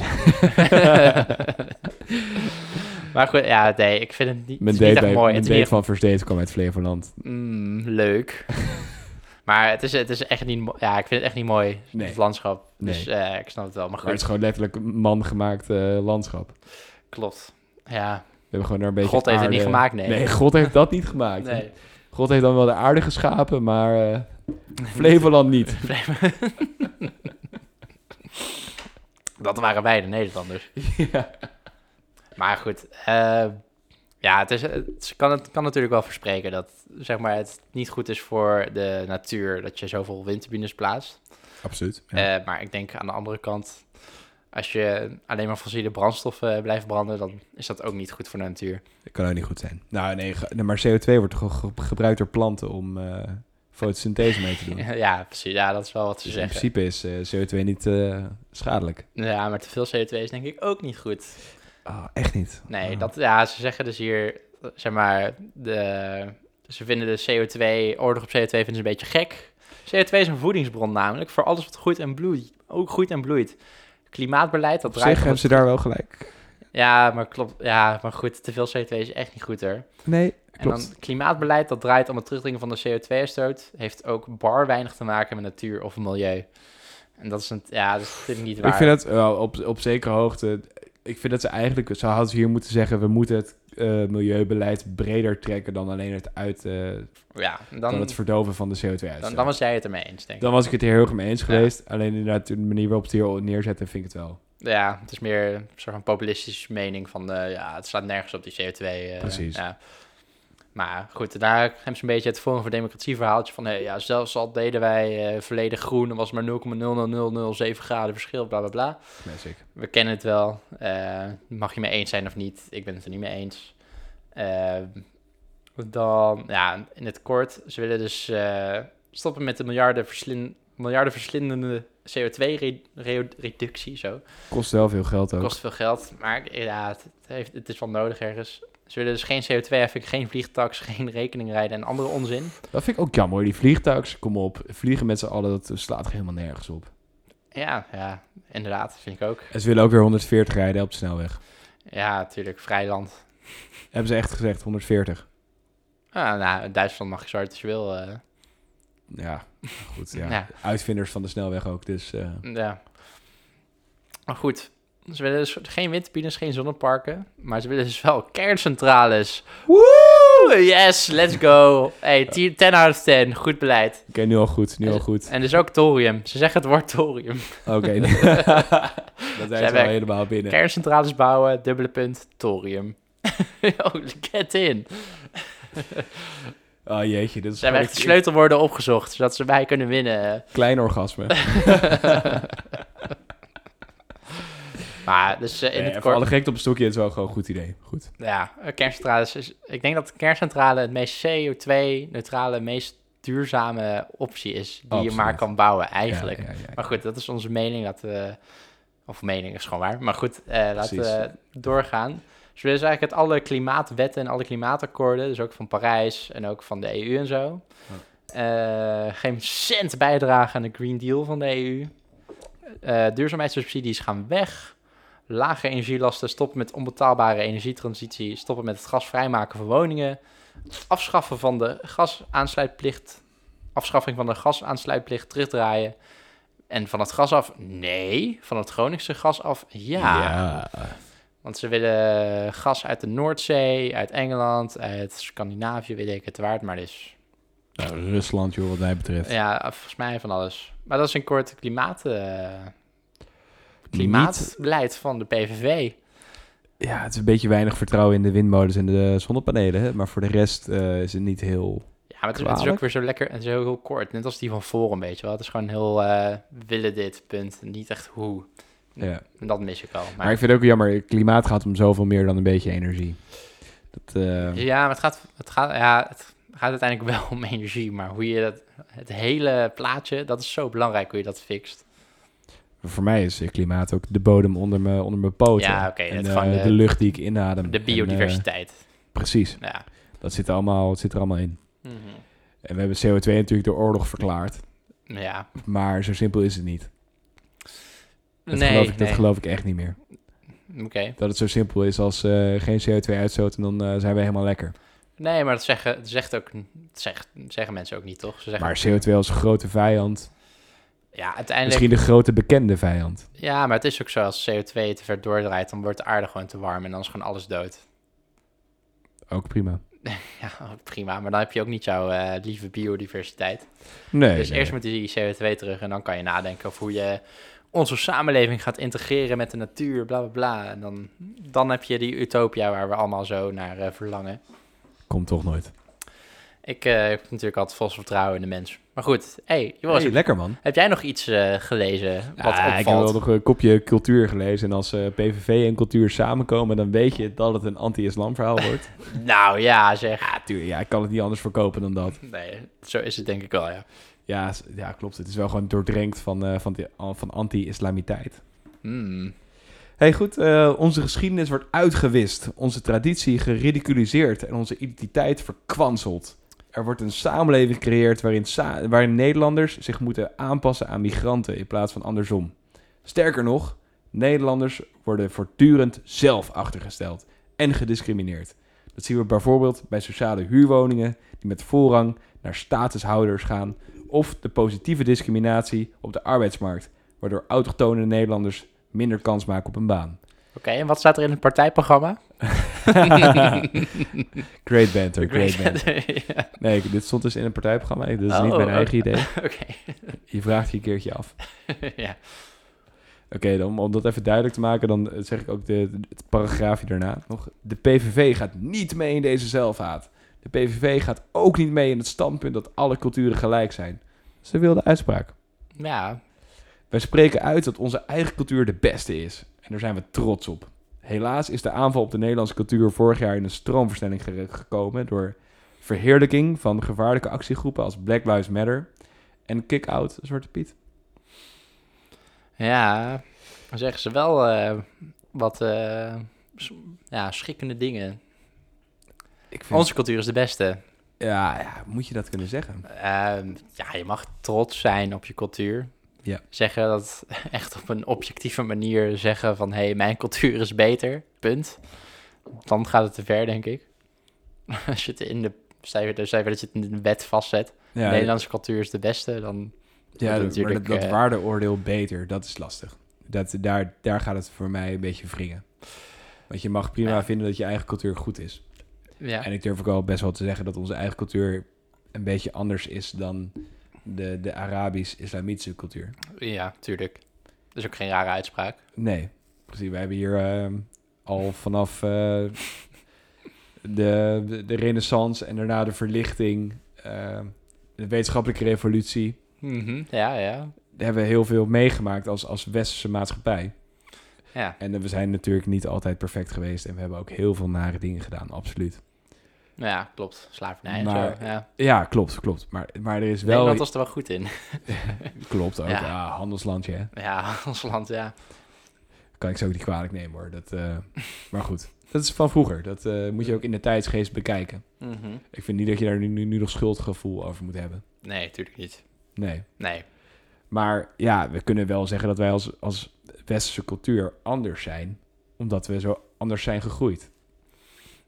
S1: <laughs> maar goed, ja, nee, ik vind het niet, het
S3: Mijn
S1: is niet
S3: date,
S1: echt
S3: bij,
S1: mooi.
S3: mijn
S1: Het is
S3: date
S1: niet echt
S3: van First Date kwam uit Flevoland.
S1: mm, leuk.
S3: <laughs>
S1: maar het is, het is echt niet, mo- ja, ik vind het echt niet mooi,
S3: Nee.
S1: het landschap.
S3: Nee.
S1: Dus eh, ik snap het wel, maar
S3: Maar het
S1: goed,
S3: is gewoon letterlijk een man gemaakt eh, landschap. We
S1: klopt. Ja,
S3: hebben gewoon daar een beetje
S1: God heeft het niet
S3: aarde-
S1: gemaakt, nee.
S3: Nee, God heeft dat niet gemaakt.
S1: nee.
S3: God heeft dan wel de aarde geschapen, maar
S1: <laughs>
S3: eh, Flevoland niet.
S1: Dat waren wij, de <laughs> Nederlanders.
S3: ja.
S1: Maar goed, eh, ja, het, is, het kan, het kan natuurlijk wel verspreken dat zeg maar, het niet goed is voor de natuur dat je zoveel windturbines plaatst.
S3: Absoluut.
S1: Eh, maar ik denk aan de andere kant, als je alleen maar fossiele brandstoffen eh, blijft branden, dan is dat ook niet goed voor de natuur.
S3: Dat kan ook niet goed zijn. Nou, nee, ge- nee, maar CO2 wordt gewoon ge- gebruikt door planten om eh, fotosynthese mee te doen.
S1: <laughs> ja, precies. Ja, dat is wel wat ze
S3: Dus in
S1: zeggen.
S3: principe is eh, CO2 niet eh, schadelijk.
S1: Ja, maar te veel CO2 is denk ik ook niet goed.
S3: Ah, echt niet.
S1: Nee,
S3: Ah.
S1: dat, ja, ze zeggen dus hier, eh, zeg maar, de, ze vinden de CO2, oorlog op CO2 vinden ze een beetje gek. CO2 is een voedingsbron namelijk voor alles wat groeit en bloeit. Ook groeit en bloeit. Klimaatbeleid, dat
S3: Op zich
S1: draait... om
S3: hebben
S1: het-
S3: ze daar wel gelijk.
S1: Ja, maar klopt. Ja, maar goed, te veel CO2 is echt niet goed hoor.
S3: Nee,
S1: En
S3: klopt.
S1: dan klimaatbeleid, dat draait om het terugdringen van de CO2-uitstoot, heeft ook bar weinig te maken met natuur of milieu. En dat is een, ja, dat is natuurlijk niet waar.
S3: Ik vind het wel op, op zekere hoogte. Ik vind dat ze eigenlijk. Ze hadden hier moeten zeggen. We moeten het eh, milieubeleid breder trekken dan alleen het, uit, eh,
S1: ja, dan,
S3: dan
S1: dan,
S3: het verdoven van de CO2-uitstoot.
S1: dan, was jij het ermee eens, denk ik.
S3: Dan was ik het hier heel erg mee eens
S1: Ja.
S3: geweest. Alleen inderdaad, de manier waarop ze het hier neerzetten, vind ik het wel.
S1: Ja, het is meer een soort van populistische mening van, eh, ja, het staat nergens op die CO2. eh,
S3: Precies.
S1: Ja. Maar goed, daar hebben ze een beetje het Forum voor Democratie verhaaltje van, hey, ja, zelfs al deden wij eh volledig groen, dan was maar 0,00007 graden verschil, bla bla bla.
S3: Classic.
S1: we kennen het wel. Eh, mag je mee eens zijn of niet? Ik ben het er niet mee eens. Eh, dan, ja, in het kort, ze willen dus eh, stoppen met de miljarden, verslin, miljarden verslindende CO2-reductie. Zo.
S3: Kost wel veel geld ook.
S1: Kost veel geld, maar ja, het, het heeft, het is wel nodig ergens. Ze willen dus geen CO2-heffing, geen vliegtax, <laughs> geen rekening rijden en andere onzin.
S3: Dat vind ik ook jammer. Die vliegtuigs, kom op. Vliegen met z'n allen, dat slaat helemaal nergens op.
S1: Ja, ja, inderdaad, vind ik ook.
S3: En ze willen ook weer 140 rijden op de snelweg.
S1: Ja, natuurlijk, vrijland.
S3: Hebben ze echt gezegd, 140.
S1: Ah, nou, in Duitsland mag je zo hard als je wil. eh.
S3: Ja, goed.
S1: <laughs>
S3: Ja.
S1: Ja.
S3: Uitvinders van de snelweg ook, dus... eh,
S1: Ja. Maar goed, ze willen dus geen windturbines, geen zonneparken. Maar ze willen dus wel kerncentrales. Woe! Yes, let's go. Hey, 10 10 out of 10. Goed beleid.
S3: Oké, nu al goed, nu al
S1: <laughs>
S3: goed.
S1: En dus ook thorium. Ze zeggen het woord
S3: <laughs>
S1: thorium.
S3: Oké, dat zijn ze wel
S1: werkt.
S3: helemaal binnen.
S1: Kerncentrales bouwen, dubbele punt, thorium. <laughs> oh, get in.
S3: Oh jeetje, dit is
S1: Ze hebben echt de
S3: gewoon een
S1: sleutelwoorden opgezocht, zodat ze mij kunnen
S3: <laughs>
S1: winnen.
S3: klein
S1: <laughs>
S3: orgasme.
S1: maar dus eh, in
S3: Nee,
S1: het
S3: voor
S1: kort...
S3: alle gekte op een stokje, het is wel gewoon een goed idee. Goed.
S1: Ja, eh, kerncentrales. Is, ik denk dat de kerncentrale het meest CO2-neutrale, meest duurzame optie is. Die je maar
S3: Absoluut.
S1: kan bouwen, eigenlijk.
S3: Ja, ja, ja, ja.
S1: Maar goed, dat is onze mening. Dat, eh, of mening is gewoon waar. Maar goed, eh, laten we doorgaan. Dus we willen dus eigenlijk het alle klimaatwetten en alle klimaatakkoorden, dus ook van Parijs en ook van de EU en zo, eh, geen cent bijdragen aan de Green Deal van de EU. Eh, duurzaamheidssubsidies gaan weg. Lage energielasten, stoppen met onbetaalbare energietransitie, stoppen met het gasvrijmaken van woningen. Afschaffen van de gasaansluitplicht, afschaffing van de gasaansluitplicht terugdraaien. En van het gas af, nee. Van het Groningse gas af,
S3: Ja.
S1: want ze willen gas uit de Noordzee, uit Engeland, uit Scandinavië, weet ik het waard, maar dus.
S3: Nou, Rusland, joh, wat mij betreft.
S1: Ja, volgens mij van alles. Maar dat is een kort klimaat, eh, klimaatbeleid van de PVV.
S3: Ja, het is een beetje weinig vertrouwen in de windmolens en de zonnepanelen. Hè? Maar voor de rest eh, is het niet heel...
S1: Ja, maar het is, het is ook
S3: Kwalijk.
S1: weer zo lekker en zo heel kort. Net als die van Forum, weet je wel. Het is gewoon heel eh, willen dit, punt. Niet echt hoe.
S3: Ja.
S1: En dat mis ik al. Maar,
S3: Maar ik vind het ook jammer, klimaat gaat om zoveel meer dan een beetje energie. Dat, eh,
S1: Ja, maar het gaat, het, gaat, ja, het gaat uiteindelijk wel om energie. Maar hoe je dat, het hele plaatje, dat is zo belangrijk hoe je dat fixt.
S3: Voor mij is eh, klimaat ook de bodem onder mijn onder mijn poten.
S1: Ja, oké,
S3: En
S1: het
S3: eh,
S1: van de-
S3: de, lucht die ik inadem.
S1: De
S3: En, eh,
S1: biodiversiteit.
S3: precies,
S1: Ja.
S3: dat zit, er allemaal, het zit er allemaal in.
S1: Mhm.
S3: En we hebben CO2 natuurlijk door oorlog verklaard.
S1: Ja.
S3: Maar zo simpel is het niet. Dat,
S1: nee,
S3: geloof, ik,
S1: nee.
S3: dat geloof ik echt niet meer.
S1: Oké.
S3: Dat het zo simpel is als eh, geen CO2 uitstoot en dan eh, zijn we helemaal lekker.
S1: Nee, maar dat zeggen, dat zegt ook, dat zegt, zeggen mensen ook niet, toch? Ze zeggen,
S3: Maar CO2 als grote vijand,
S1: ja, uiteindelijk...
S3: misschien de grote bekende vijand.
S1: Ja, maar het is ook zo, als CO2 te ver doordraait, dan wordt de aarde gewoon te warm en dan is gewoon alles dood. <laughs>
S3: Ook prima.
S1: Ja, prima. Maar dan heb je ook niet jouw eh, lieve biodiversiteit.
S3: Nee,
S1: dus
S3: nee.
S1: eerst moet die CO2 terug en dan kan je nadenken over hoe je onze samenleving gaat integreren met de natuur, bla bla bla. En dan, dan heb je die utopia waar we allemaal zo naar eh, verlangen.
S3: komt toch nooit.
S1: Ik eh, heb natuurlijk altijd vol vertrouwen in de mens. Maar goed, hey, Joris,
S3: Hey, lekker man.
S1: heb jij nog iets eh, gelezen wat
S3: Ah, ik heb
S1: opvalt?
S3: wel nog een kopje cultuur gelezen. En als eh, PVV en cultuur samenkomen, dan weet je dat het een anti-islam verhaal
S1: <laughs>
S3: wordt.
S1: Nou ja, zeg.
S3: ja, tuurlijk. Ja, ik kan het niet anders verkopen dan dat.
S1: Nee, zo is het denk ik wel, ja.
S3: Ja, s- ja klopt. Het is wel gewoon doordrenkt van, eh, van, die- van anti-islamiteit.
S1: Hmm.
S3: Hey, goed. eh, onze geschiedenis wordt uitgewist, onze traditie geridiculiseerd en onze identiteit verkwanseld. Er wordt een samenleving gecreëerd waarin, sa- waarin Nederlanders zich moeten aanpassen aan migranten in plaats van andersom. Sterker nog, Nederlanders worden voortdurend zelf achtergesteld en gediscrimineerd. Dat zien we bijvoorbeeld bij sociale huurwoningen die met voorrang naar statushouders gaan of de positieve discriminatie op de arbeidsmarkt, waardoor autochtone Nederlanders minder kans maken op een baan.
S1: en wat staat er in het partijprogramma?
S3: Great banter,
S1: Ik
S3: great
S1: weet
S3: banter.
S1: het. Ja,
S3: Nee, dit stond dus in een partijprogramma. Dit is
S1: Oh,
S3: niet mijn
S1: oh.
S3: eigen idee.
S1: <laughs> Oké. <laughs>
S3: Je vraagt je een keertje af.
S1: ja.
S3: Oké, dan om- om dat even duidelijk te maken, dan eh, zeg ik ook de, het paragraafje daarna nog. De PVV gaat niet mee in deze zelfhaat. De PVV gaat ook niet mee in het standpunt dat alle culturen gelijk zijn. Ze wilde uitspraak.
S1: ja,
S3: Wij spreken uit dat onze eigen cultuur de beste is. En daar zijn we trots op. Helaas is de aanval op de Nederlandse cultuur vorig jaar in een stroomversnelling gere- gekomen door verheerlijking van gevaarlijke actiegroepen als Black Lives Matter en Kick-Out Zwarte Piet.
S1: ja. Dan zeggen ze wel eh, wat eh, s- ja, schikkende dingen.
S3: Ik vind,
S1: Onze cultuur is de beste.
S3: ja, ja, moet je dat kunnen zeggen?
S1: Ehm, ja, je mag trots zijn op je cultuur.
S3: Ja.
S1: Zeggen dat <laughs> echt op een objectieve manier zeggen van... hé, hey, mijn cultuur is beter, punt. Dan gaat het te ver, denk ik. <laughs> Als je het in de... Stel je, stel je dat je het in de wet vastzet.
S3: Ja,
S1: Nederlandse cultuur is de beste, dan... dat
S3: ja dat, maar dat,
S1: natuurlijk,
S3: dat
S1: eh,
S3: waardeoordeel beter, dat is lastig. Dat, daar, daar gaat het voor mij een beetje wringen. Want je mag prima
S1: Ja.
S3: vinden dat je eigen cultuur goed is.
S1: Ja,
S3: En ik durf ook wel best wel te zeggen dat onze eigen cultuur een beetje anders is dan de, de Arabisch-Islamitische cultuur.
S1: ja tuurlijk. Dat is ook geen rare uitspraak.
S3: Nee, precies. We hebben hier ehm, al vanaf eh, de, de renaissance en daarna de verlichting, ehm, de wetenschappelijke revolutie, Mhm.
S1: Ja, ja.
S3: daar hebben we heel veel meegemaakt als, als westerse maatschappij.
S1: Ja,
S3: En eh, we zijn natuurlijk niet altijd perfect geweest en we hebben ook heel veel nare dingen gedaan, absoluut.
S1: nou ja klopt. Slavernij en
S3: Maar
S1: zo. Ja.
S3: Ja, klopt, klopt. Maar, maar er is wel...
S1: Nederland was er wel goed in. <laughs>
S3: Klopt ook,
S1: Ja.
S3: ja, handelslandje hè.
S1: Ja, ons land, ja.
S3: kan ik ze ook niet kwalijk nemen hoor. Dat, eh, <laughs> maar goed, dat is van vroeger. Dat eh, moet je ook in de tijdsgeest bekijken.
S1: Mhm.
S3: Ik vind niet dat je daar nu, nu, nu nog schuldgevoel over moet hebben.
S1: Nee, tuurlijk niet.
S3: Nee.
S1: Nee,
S3: Maar ja, we kunnen wel zeggen dat wij als, als westerse cultuur anders zijn. Omdat we zo anders zijn gegroeid.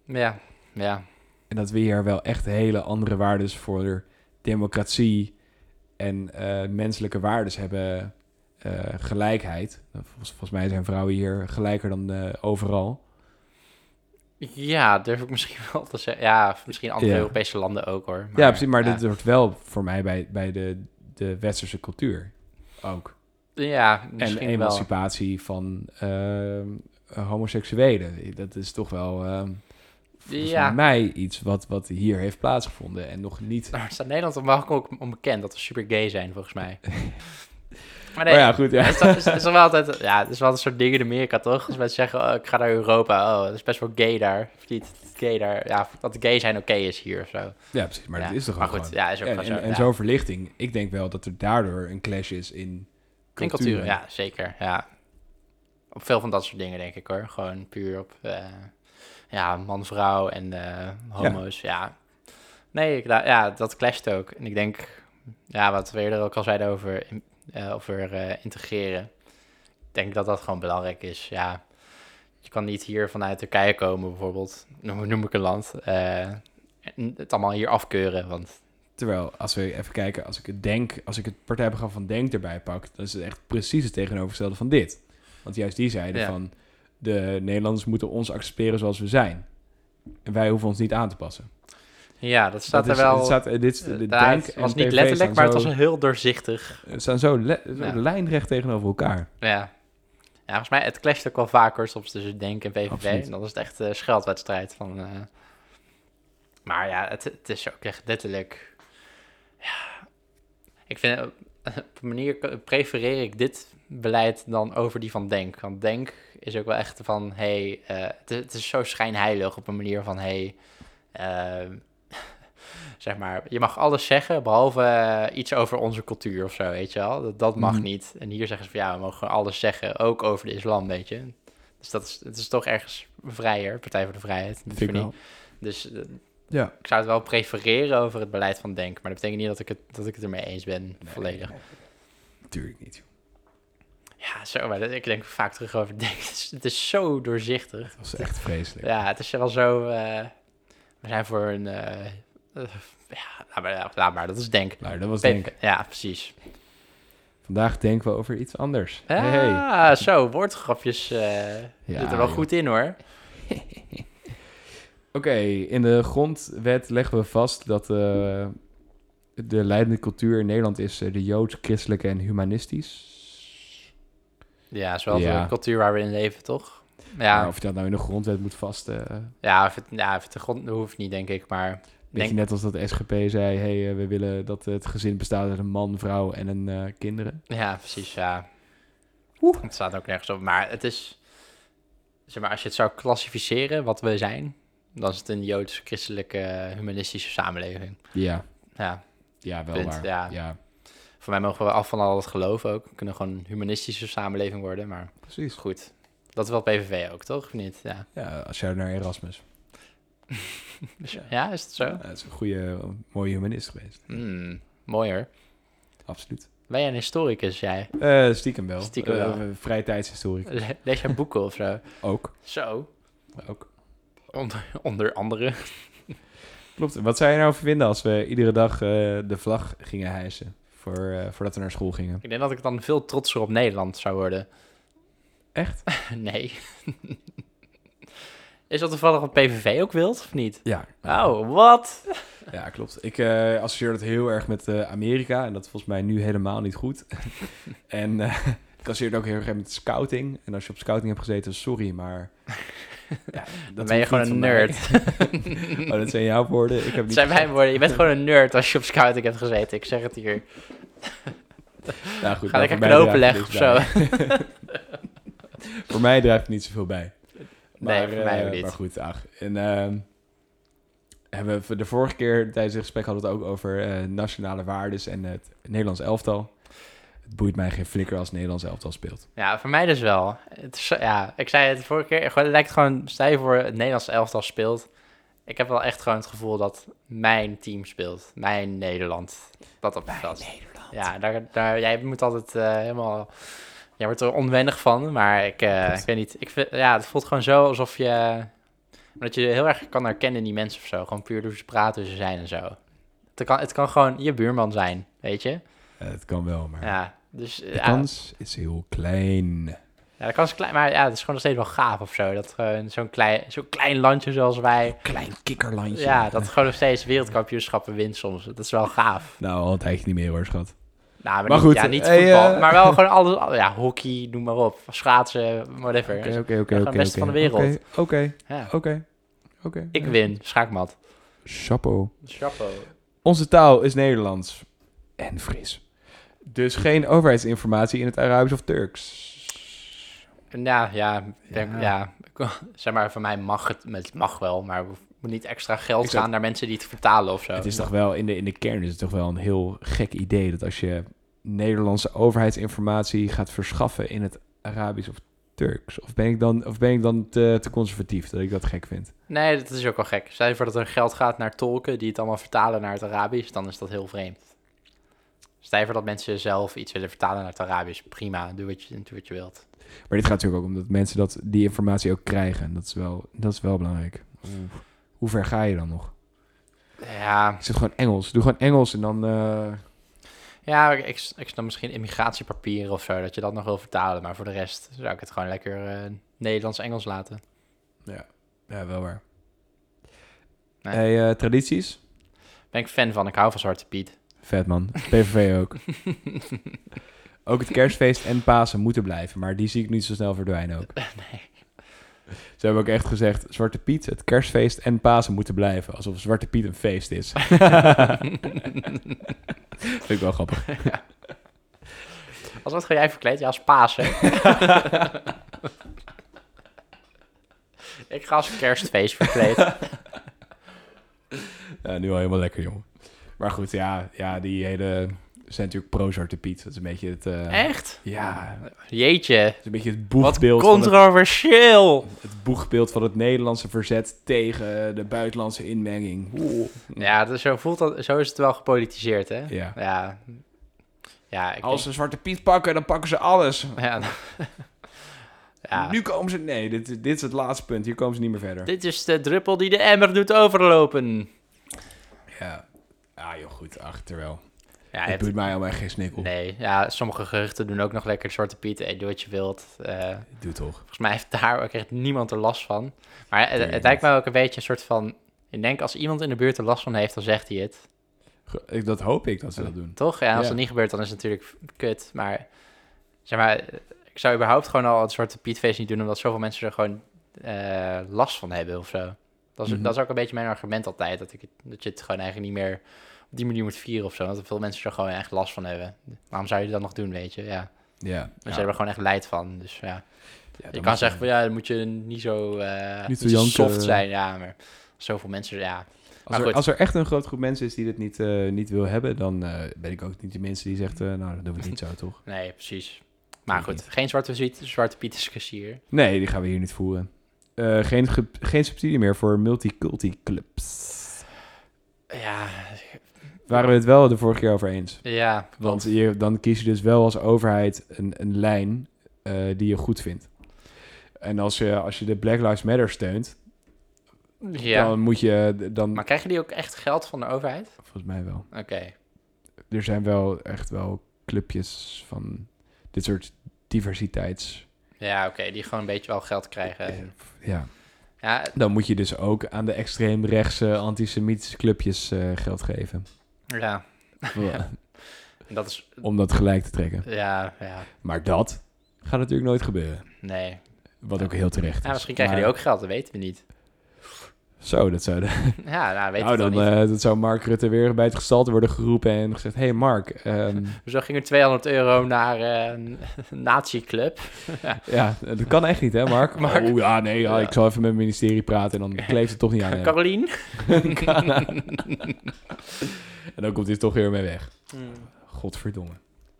S1: ja, ja.
S3: En dat we hier wel echt hele andere waardes voor democratie en eh, menselijke waardes hebben. eh, gelijkheid. Volgens, volgens mij zijn vrouwen hier gelijker dan eh, overal.
S1: Ja, durf ik misschien <laughs> wel te zeggen. Ja, misschien andere
S3: Ja.
S1: Europese landen ook hoor.
S3: ja, precies. Maar
S1: ja.
S3: dit hoort wel voor mij bij, bij de, de westerse cultuur ook.
S1: Ja,
S3: En
S1: misschien wel.
S3: emancipatie van ehm, homoseksuelen. Dat is toch wel ehm volgens
S1: Ja.
S3: mij iets wat, wat hier heeft plaatsgevonden. En nog niet...
S1: Maar staat Nederland normaal ook onbekend dat we super gay zijn, volgens
S3: <laughs>
S1: mij. maar
S3: Maar
S1: nee,
S3: Oh ja, goed.
S1: <laughs>
S3: Ja.
S1: het, is, toch- het is- het is toch wel altijd, ja, het is wel een soort ding in Amerika, toch? Als mensen zeggen, oh, ik ga naar Europa, oh, het is best wel gay daar. Of niet gay daar, ja, dat gay zijn oké is hier of zo.
S3: ja, precies. Maar
S1: ja.
S3: dat is toch
S1: maar
S3: ook
S1: goed,
S3: gewoon...
S1: ja, is ook
S3: en
S1: wel
S3: en,
S1: zo.
S3: en
S1: ja.
S3: zo'n verlichting. Ik denk wel dat er daardoor een clash is in
S1: In
S3: cultuur.
S1: culturen, ja, zeker. Ja. Op veel van dat soort dingen, denk ik hoor. Gewoon puur op eh, ja, man, vrouw en eh, homo's. Ja. Nee, ik, da- ja, dat clasht ook. En ik denk, ja, wat we eerder ook al zeiden over, in- eh, over eh, integreren. Ik denk dat dat gewoon belangrijk is. Ja. Je kan niet hier vanuit Turkije komen, bijvoorbeeld. Noem, noem ik een land. eh, en het allemaal hier afkeuren. Want
S3: Terwijl, als we even kijken, als ik het denk, als ik het partijprogramma van Denk erbij pak, dan is het echt precies het tegenovergestelde van dit. Want juist die zeiden
S1: Ja.
S3: van de Nederlanders moeten ons accepteren zoals we zijn. En wij hoeven ons niet aan te passen.
S1: ja, dat staat
S3: Dat is-
S1: er wel.
S3: het staat, dit is de
S1: eh,
S3: Denk
S1: daar, het
S3: en
S1: was niet
S3: PV
S1: letterlijk,
S3: staan
S1: maar het
S3: zo-
S1: was een heel doorzichtig.
S3: het staan zo, le- zo
S1: Ja.
S3: lijnrecht tegenover elkaar.
S1: Ja. ja, volgens mij, het clasht ook wel vaker soms tussen Denk en PVV.
S3: Absoluut.
S1: En dan is het echt een scheldwedstrijd van... eh. Maar ja, het, het is ook echt letterlijk... Ja. Ik vind, eh, <laughs> op een manier prefereer ik dit beleid dan over die van Denk. Want Denk is ook wel echt van, hey, eh, het, het is zo schijnheilig op een manier van, hey, eh, <laughs> zeg maar, je mag alles zeggen behalve eh, iets over onze cultuur of zo, weet je wel. Dat, dat mag
S2: Mm.
S3: Mhm.
S1: niet. En hier zeggen ze van ja, we mogen gewoon alles zeggen, ook over de islam, weet je. Dus dat is, het is toch ergens vrijer, Partij voor de Vrijheid. niet
S2: Vind ik
S1: voor
S2: wel.
S1: niet. Dus eh,
S3: Ja.
S1: ik zou het wel prefereren over het beleid van Denk. Maar dat betekent niet dat ik het, dat ik het ermee eens ben, volledig.
S3: Natuurlijk niet. joh.
S1: Ja, zo, maar dat- ik denk vaak terug over <laughs> Denk. Het is, het is zo doorzichtig.
S3: Dat was echt vreselijk.
S1: Ja, het is wel zo... eh, we zijn voor een... eh, eh, ja, laat maar, laat maar, dat is Denk.
S3: Nou, dat was denk ik.
S1: Ja, precies.
S3: Vandaag denken we over iets anders.
S1: Ah,
S3: Hey.
S1: zo, woordgrapjes eh zitten er wel
S3: joh.
S1: goed in, hoor.
S3: Oké, in de grondwet leggen we vast dat eh, de leidende cultuur in Nederland is eh, de joods, christelijke en humanistisch.
S1: Ja, is wel
S3: Ja.
S1: de cultuur waar we in leven, toch?
S3: Maar
S1: Ja,
S3: of je dat nou in de grondwet moet vast... eh,
S1: ja, of het, ja, of het de grond hoeft niet, denk ik. Maar
S3: Weet je,
S1: Denk-
S3: net als dat de SGP zei, hey, eh, we willen dat het gezin bestaat uit een man, vrouw en een eh, kinderen.
S1: ja, precies, ja. Het staat ook nergens op. Maar het is... Zeg maar, als je het zou klassificeren, wat we zijn... dan is het een joods-christelijke humanistische samenleving.
S3: Ja,
S1: Ja,
S3: ja wel
S1: Punt,
S3: waar.
S1: ja.
S3: ja,
S1: voor mij mogen we af van al dat geloof ook. We kunnen gewoon een humanistische samenleving worden, maar
S3: precies.
S1: goed. Dat is wel PVV ook, toch? Of niet? Ja.
S3: Ja, als jij naar Erasmus.
S1: Ja, <laughs> is het zo?
S3: Ja, dat is een goede, mooie humanist geweest.
S1: Hmm, mooi hoor.
S3: Absoluut.
S1: Ben jij een historicus, jij?
S3: Eh, stiekem wel.
S1: Stiekem
S3: Eh,
S1: wel.
S3: vrije tijdshistorica.
S1: Le- Lees jij boeken of zo?
S3: Ook.
S1: Zo,
S3: Ook.
S1: onder, onder andere.
S3: Klopt. Wat zou je nou vinden als we iedere dag eh, de vlag gingen hijsen? Voor, eh, voordat we naar school gingen.
S1: Ik denk dat ik dan veel trotser op Nederland zou worden.
S3: Echt?
S1: <laughs> Nee. Is dat toevallig wat PVV ook wilt, of niet?
S3: Ja.
S1: Oh, wat?
S3: Ja, klopt. Ik eh, associeer dat heel erg met eh, Amerika. En dat is volgens mij nu helemaal niet goed. <laughs> en eh, ik associeer het ook heel erg met scouting. En als je op scouting hebt gezeten, sorry,
S1: <laughs>
S3: maar... Ja,
S1: Dan ben je
S3: hoeft
S1: gewoon
S3: niet
S1: een
S3: van mij.
S1: nerd.
S3: <laughs> Oh, dat zijn jouw woorden. Ik
S1: <laughs>
S3: heb
S1: Dat
S3: niet
S1: zijn mijn
S3: gezegd.
S1: woorden. Je bent gewoon een nerd als je op scouting hebt gezeten. Ik zeg het hier.
S3: Nou, goed,
S1: Ga lekker
S3: maar voor mij
S1: knopen
S3: draagt
S1: leggen of
S3: het
S1: zo.
S3: niks bij. voor mij draagt het niet zoveel bij.
S1: Nee, voor mij
S3: eh,
S1: ook niet.
S3: Maar goed, ach. En ehm, hebben we de vorige keer tijdens het gesprek hadden we het ook over eh, nationale waardes en het Nederlands elftal. Het boeit mij geen flikker als het Nederlands elftal speelt.
S1: Ja, voor mij dus wel. Het is, ja, ik zei het vorige keer. Gewoon, het lijkt gewoon, stel je voor, het Nederlands elftal speelt. Ik heb wel echt gewoon het gevoel dat mijn team speelt. Mijn Nederland. Dat op het veld. Nederland. Ja, daar, daar, jij moet altijd eh, helemaal... Jij wordt er onwennig van, maar ik, eh, ik weet niet. Ik vind, ja, het voelt gewoon zo alsof je... Dat je heel erg kan herkennen in die mensen of zo. Gewoon puur door hoe ze praten, hoe ze zijn en zo. Het kan, het kan gewoon je buurman zijn, weet je?
S3: Eh, het kan wel, maar
S1: Ja, dus...
S3: de
S1: ja.
S3: kans is heel klein.
S1: Ja, dat kan is klein, maar ja, het is gewoon nog steeds wel gaaf of zo. Dat gewoon zo'n klein, zo'n klein landje zoals wij,
S3: Klein kikkerlandje.
S1: ja, dat gewoon nog steeds wereldkampioenschappen wint soms. Dat is wel gaaf.
S3: Nou, al een tijdje niet meer hoor, schat.
S1: Nou, maar,
S3: Maar
S1: niet,
S3: goed,
S1: ja, niet
S3: hey,
S1: voetbal,
S3: eh,
S1: maar
S3: <laughs>
S1: wel gewoon alles, al- ja, hockey, noem maar op, schaatsen, whatever.
S3: Oké, oké, oké.
S1: gewoon
S3: oké,
S1: beste
S3: oké.
S1: van de wereld.
S3: Oké, Oké,
S1: Ja.
S3: oké, oké.
S1: Ik win, schaakmat.
S3: Chapeau.
S1: Chapeau.
S3: Onze taal is Nederlands en Fries. Dus geen overheidsinformatie in het Arabisch of Turks.
S1: Nou ja, ik denk-
S3: Ja.
S1: ja. zeg maar, voor mij mag het, het mag wel, maar we moet niet extra geld
S3: Ik
S1: gaan
S3: zou-
S1: naar mensen die het vertalen of zo.
S3: Het is toch wel, in de, in de kern is het toch wel een heel gek idee dat als je Nederlandse overheidsinformatie gaat verschaffen in het Arabisch of Turks. Of ben ik dan, of ben ik dan te, te conservatief dat ik dat gek vind?
S1: Nee, dat is ook wel gek. Stel je voor dat er geld gaat naar tolken die het allemaal vertalen naar het Arabisch, dan is dat heel vreemd. Stel je voor dat mensen zelf iets willen vertalen naar het Arabisch, prima, doe wat je, doe wat je wilt.
S3: Maar dit gaat natuurlijk ook om dat mensen dat, die informatie ook krijgen. En dat is wel, dat is wel belangrijk. Hoe ver ga je dan nog?
S1: Ja,
S3: Ik zit gewoon Engels. Doe gewoon Engels en dan... eh,
S1: ja ik, ik, ik snap misschien immigratiepapieren of zo, dat je dat nog wil vertalen, maar voor de rest zou ik het gewoon lekker eh, Nederlands-Engels laten.
S3: Ja, wel waar.
S1: Nee.
S3: Hey, eh, tradities?
S1: Ben ik fan van, ik hou van Zwarte Piet.
S3: Vet man. PVV
S1: <laughs>
S3: ook. ook het kerstfeest en Pasen moeten blijven, maar die zie ik niet zo snel verdwijnen ook.
S1: <laughs> nee.
S3: Ze hebben ook echt gezegd, Zwarte Piet, het kerstfeest en Pasen moeten blijven. Alsof Zwarte Piet een
S1: <laughs>
S3: feest is. Vind ik wel grappig.
S1: Als wat ga jij verkleed? Ja, als Pasen. ik ga als kerstfeest verkleed.
S3: Ja, nu al helemaal lekker, jongen. Maar goed, ja, ja die hele zijn natuurlijk pro-Zwarte Piet. Dat is een beetje het... eh,
S1: Echt?
S3: Ja, dat
S1: Jeetje.
S3: is een beetje het
S1: Wat
S3: boegbeeld, van het,
S1: controversieel.
S3: het boegbeeld van het Nederlandse verzet tegen de buitenlandse inmenging. Oeh.
S1: Ja, dat, zo, voelt dat, zo is het wel gepolitiseerd, hè?
S3: Ja.
S1: Ja. Ja, ik
S3: Als ze Zwarte Piet pakken, dan pakken ze alles.
S1: denk- ja, ja.
S3: Nu komen ze... Nee, dit, dit is het laatste punt. Hier komen ze niet meer verder.
S1: Dit is de druppel die de emmer doet overlopen.
S3: Ja. Ah joh, goed. Ach, terwijl.
S1: Ja, je
S3: het
S1: hebt-
S3: doet mij al mij geen snikkel.
S1: nee, ja, sommige geruchten doen ook nog lekker Zwarte Piet. eh, Doe wat je wilt. Eh,
S3: Doe toch.
S1: volgens mij heeft daar ook echt niemand er last van. Maar het,
S3: Tuurlijk
S1: het lijkt mij ook een beetje een soort van... Ik denk, als iemand in de buurt er last van heeft, dan zegt hij het.
S3: Ge- ik- Dat hoop ik dat ze dat doen.
S1: Toch? Ja, als
S3: Ja.
S1: dat niet gebeurt, dan is het natuurlijk kut. Maar zeg maar, ik zou überhaupt gewoon al het Zwarte Pietfeest niet doen, omdat zoveel mensen er gewoon eh, last van hebben of zo. Dat is,
S3: Mhm.
S1: dat is ook een beetje mijn argument altijd, dat, ik, het- dat je het gewoon eigenlijk niet meer op die manier moet vieren of zo. Want veel mensen er gewoon echt last van hebben. Waarom zou je dat nog doen, weet je? Ja.
S3: Ja.
S1: Ze hebben er gewoon echt leid van, dus ja.
S3: Ja,
S1: je
S3: dan
S1: kan
S3: moet
S1: zeggen van ja, dan moet je niet zo, eh,
S3: Niet zo
S1: moet je
S3: janken.
S1: soft zijn. Ja, maar zoveel mensen, ja.
S3: Als
S1: maar
S3: er,
S1: goed.
S3: als er echt een groot groep mensen is die dit niet, eh, niet wil hebben, dan eh, ben ik ook niet de mensen die zegt, eh, nou, dan doen we
S1: <laughs>
S3: het niet zo, toch?
S1: Nee, precies. Maar
S3: Ik
S1: goed,
S3: niet.
S1: geen Zwarte Piet, Zwarte Piet discussie hier.
S3: Nee, die gaan we hier niet voeren. Eh, geen, ge- geen subsidie meer voor multiculti clubs.
S1: Ja,
S3: Waren we het wel de vorige keer over eens?
S1: Ja,
S3: Want je, dan kies je dus wel als overheid een, een lijn eh, die je goed vindt. En als je, als je de Black Lives Matter steunt,
S1: ja.
S3: dan moet je dan
S1: Maar krijgen die ook echt geld van de overheid?
S3: volgens mij wel.
S1: Oké.
S3: Er zijn wel echt wel clubjes van dit soort diversiteits.
S1: Ja, oké, die gewoon een beetje wel geld
S3: Eh,
S1: krijgen.
S3: Ja,
S1: Ja,
S3: dan moet je dus ook aan de extreemrechtse antisemitische clubjes eh, geld geven.
S1: <laughs> ja, dat is...
S3: Om dat gelijk te trekken.
S1: Ja, ja,
S3: Maar dat gaat natuurlijk nooit gebeuren.
S1: nee.
S3: Wat ook heel terecht is.
S1: Ja, misschien krijgen die ook geld, dat weten we
S3: <laughs>
S1: niet.
S3: Zo, dat zou,
S1: Ja, nou, weten
S3: nou,
S1: we
S3: dan,
S1: dan niet.
S3: eh, dat zou Mark Rutte weer bij het gestalte worden geroepen en gezegd... hey
S1: <laughs>
S3: Mark, ehm,
S1: Zo ging er 200 euro naar eh, <laughs> een nazi-club.
S3: ja, dat kan echt niet hè
S1: <laughs>
S3: Mark?
S1: Mark.
S3: Oh ja, nee, ja,
S1: Ja.
S3: ik zal even met het ministerie praten
S1: <laughs>
S3: en dan kleeft het toch niet aan hem.
S1: Carolien?
S3: <laughs> En dan komt hij toch weer mee weg. Godverdomme.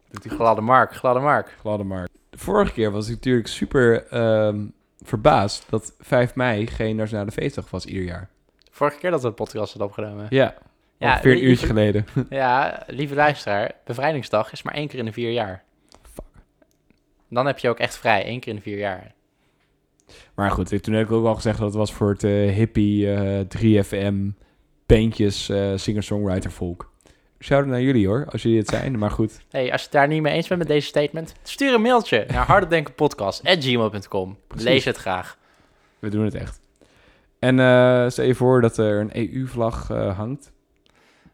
S3: Doet hij goed.
S1: <laughs> Gladde Mark, gladde Mark.
S3: Gladde Mark. De vorige keer was ik natuurlijk super ehm, verbaasd dat 5 mei geen nationale feestdag was ieder jaar.
S1: Vorige keer dat we de podcast hadden opgenomen.
S3: Ja,
S1: Ja,
S3: ongeveer een
S1: die-
S3: uurtje geleden.
S1: <laughs> Ja, lieve luisteraar, bevrijdingsdag is maar één keer in de vier jaar.
S3: Fuck.
S1: Dan heb je ook echt vrij, één keer in de vier jaar.
S3: Maar goed, ik- toen heb ik ook al gezegd dat het was voor het eh, hippie eh, 3FM peentjes eh, singer-songwriter volk. Shout out naar jullie hoor, als jullie het zijn. Maar goed,
S1: Hey, als je het daar niet mee eens bent met deze statement, stuur een mailtje
S3: <laughs>
S1: naar hardedenkenpodcast.gmail.com.
S3: Precies.
S1: Lees het graag.
S3: we doen het echt. En eh, stel je voor dat er een EU-vlag hangt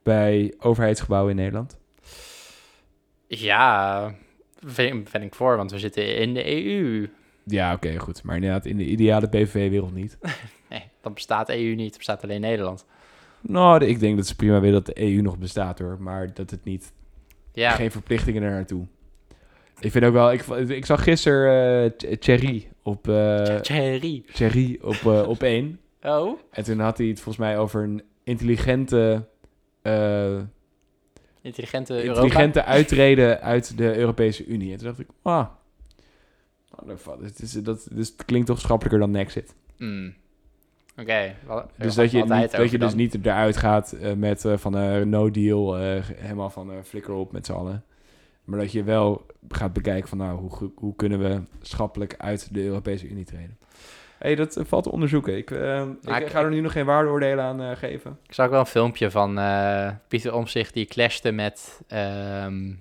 S3: bij overheidsgebouwen in Nederland.
S1: Ja, vind, vind ik voor, want we zitten in de E EU.
S3: Ja, oké, goed. Maar inderdaad, in de ideale PVV-wereld niet.
S1: Nee, dan bestaat EU niet, dan bestaat alleen Nederland.
S3: Nou, de- ik denk dat ze prima willen dat de EU nog bestaat hoor. Maar dat het niet.
S1: Ja,
S3: Geen verplichtingen er naartoe. Ik vind ook wel. Ik, ik zag gisteren eh Thierry op. eh
S1: Thierry.
S3: Thierry op,
S1: <laughs>
S3: eh, op één.
S1: Oh,
S3: En toen had hij het volgens mij over een intelligente. eh,
S1: intelligente, Europa.
S3: intelligente uitreden uit de Europese Unie. En toen dacht ik. Ah. what the fuck, Het, is, dat, dus het klinkt toch schappelijker dan Nexit.
S1: Mm. Oké. wel-
S3: Dus
S1: wel
S3: dat je,
S1: altijd
S3: niet, dat
S1: over
S3: je dus
S1: dan.
S3: niet eruit gaat eh, met eh, van eh, no deal, eh, helemaal van eh, flikker op met z'n allen. Maar dat je wel gaat bekijken van nou, hoe, go- hoe kunnen we schappelijk uit de Europese Unie treden. hey, dat eh, valt te onderzoeken. Ik, eh,
S1: Maar
S3: ik,
S1: ik-
S3: ga er nu nog geen waardeoordelen aan eh, geven.
S1: Ik zag wel een filmpje van eh, Pieter Omzicht die clashte met ehm,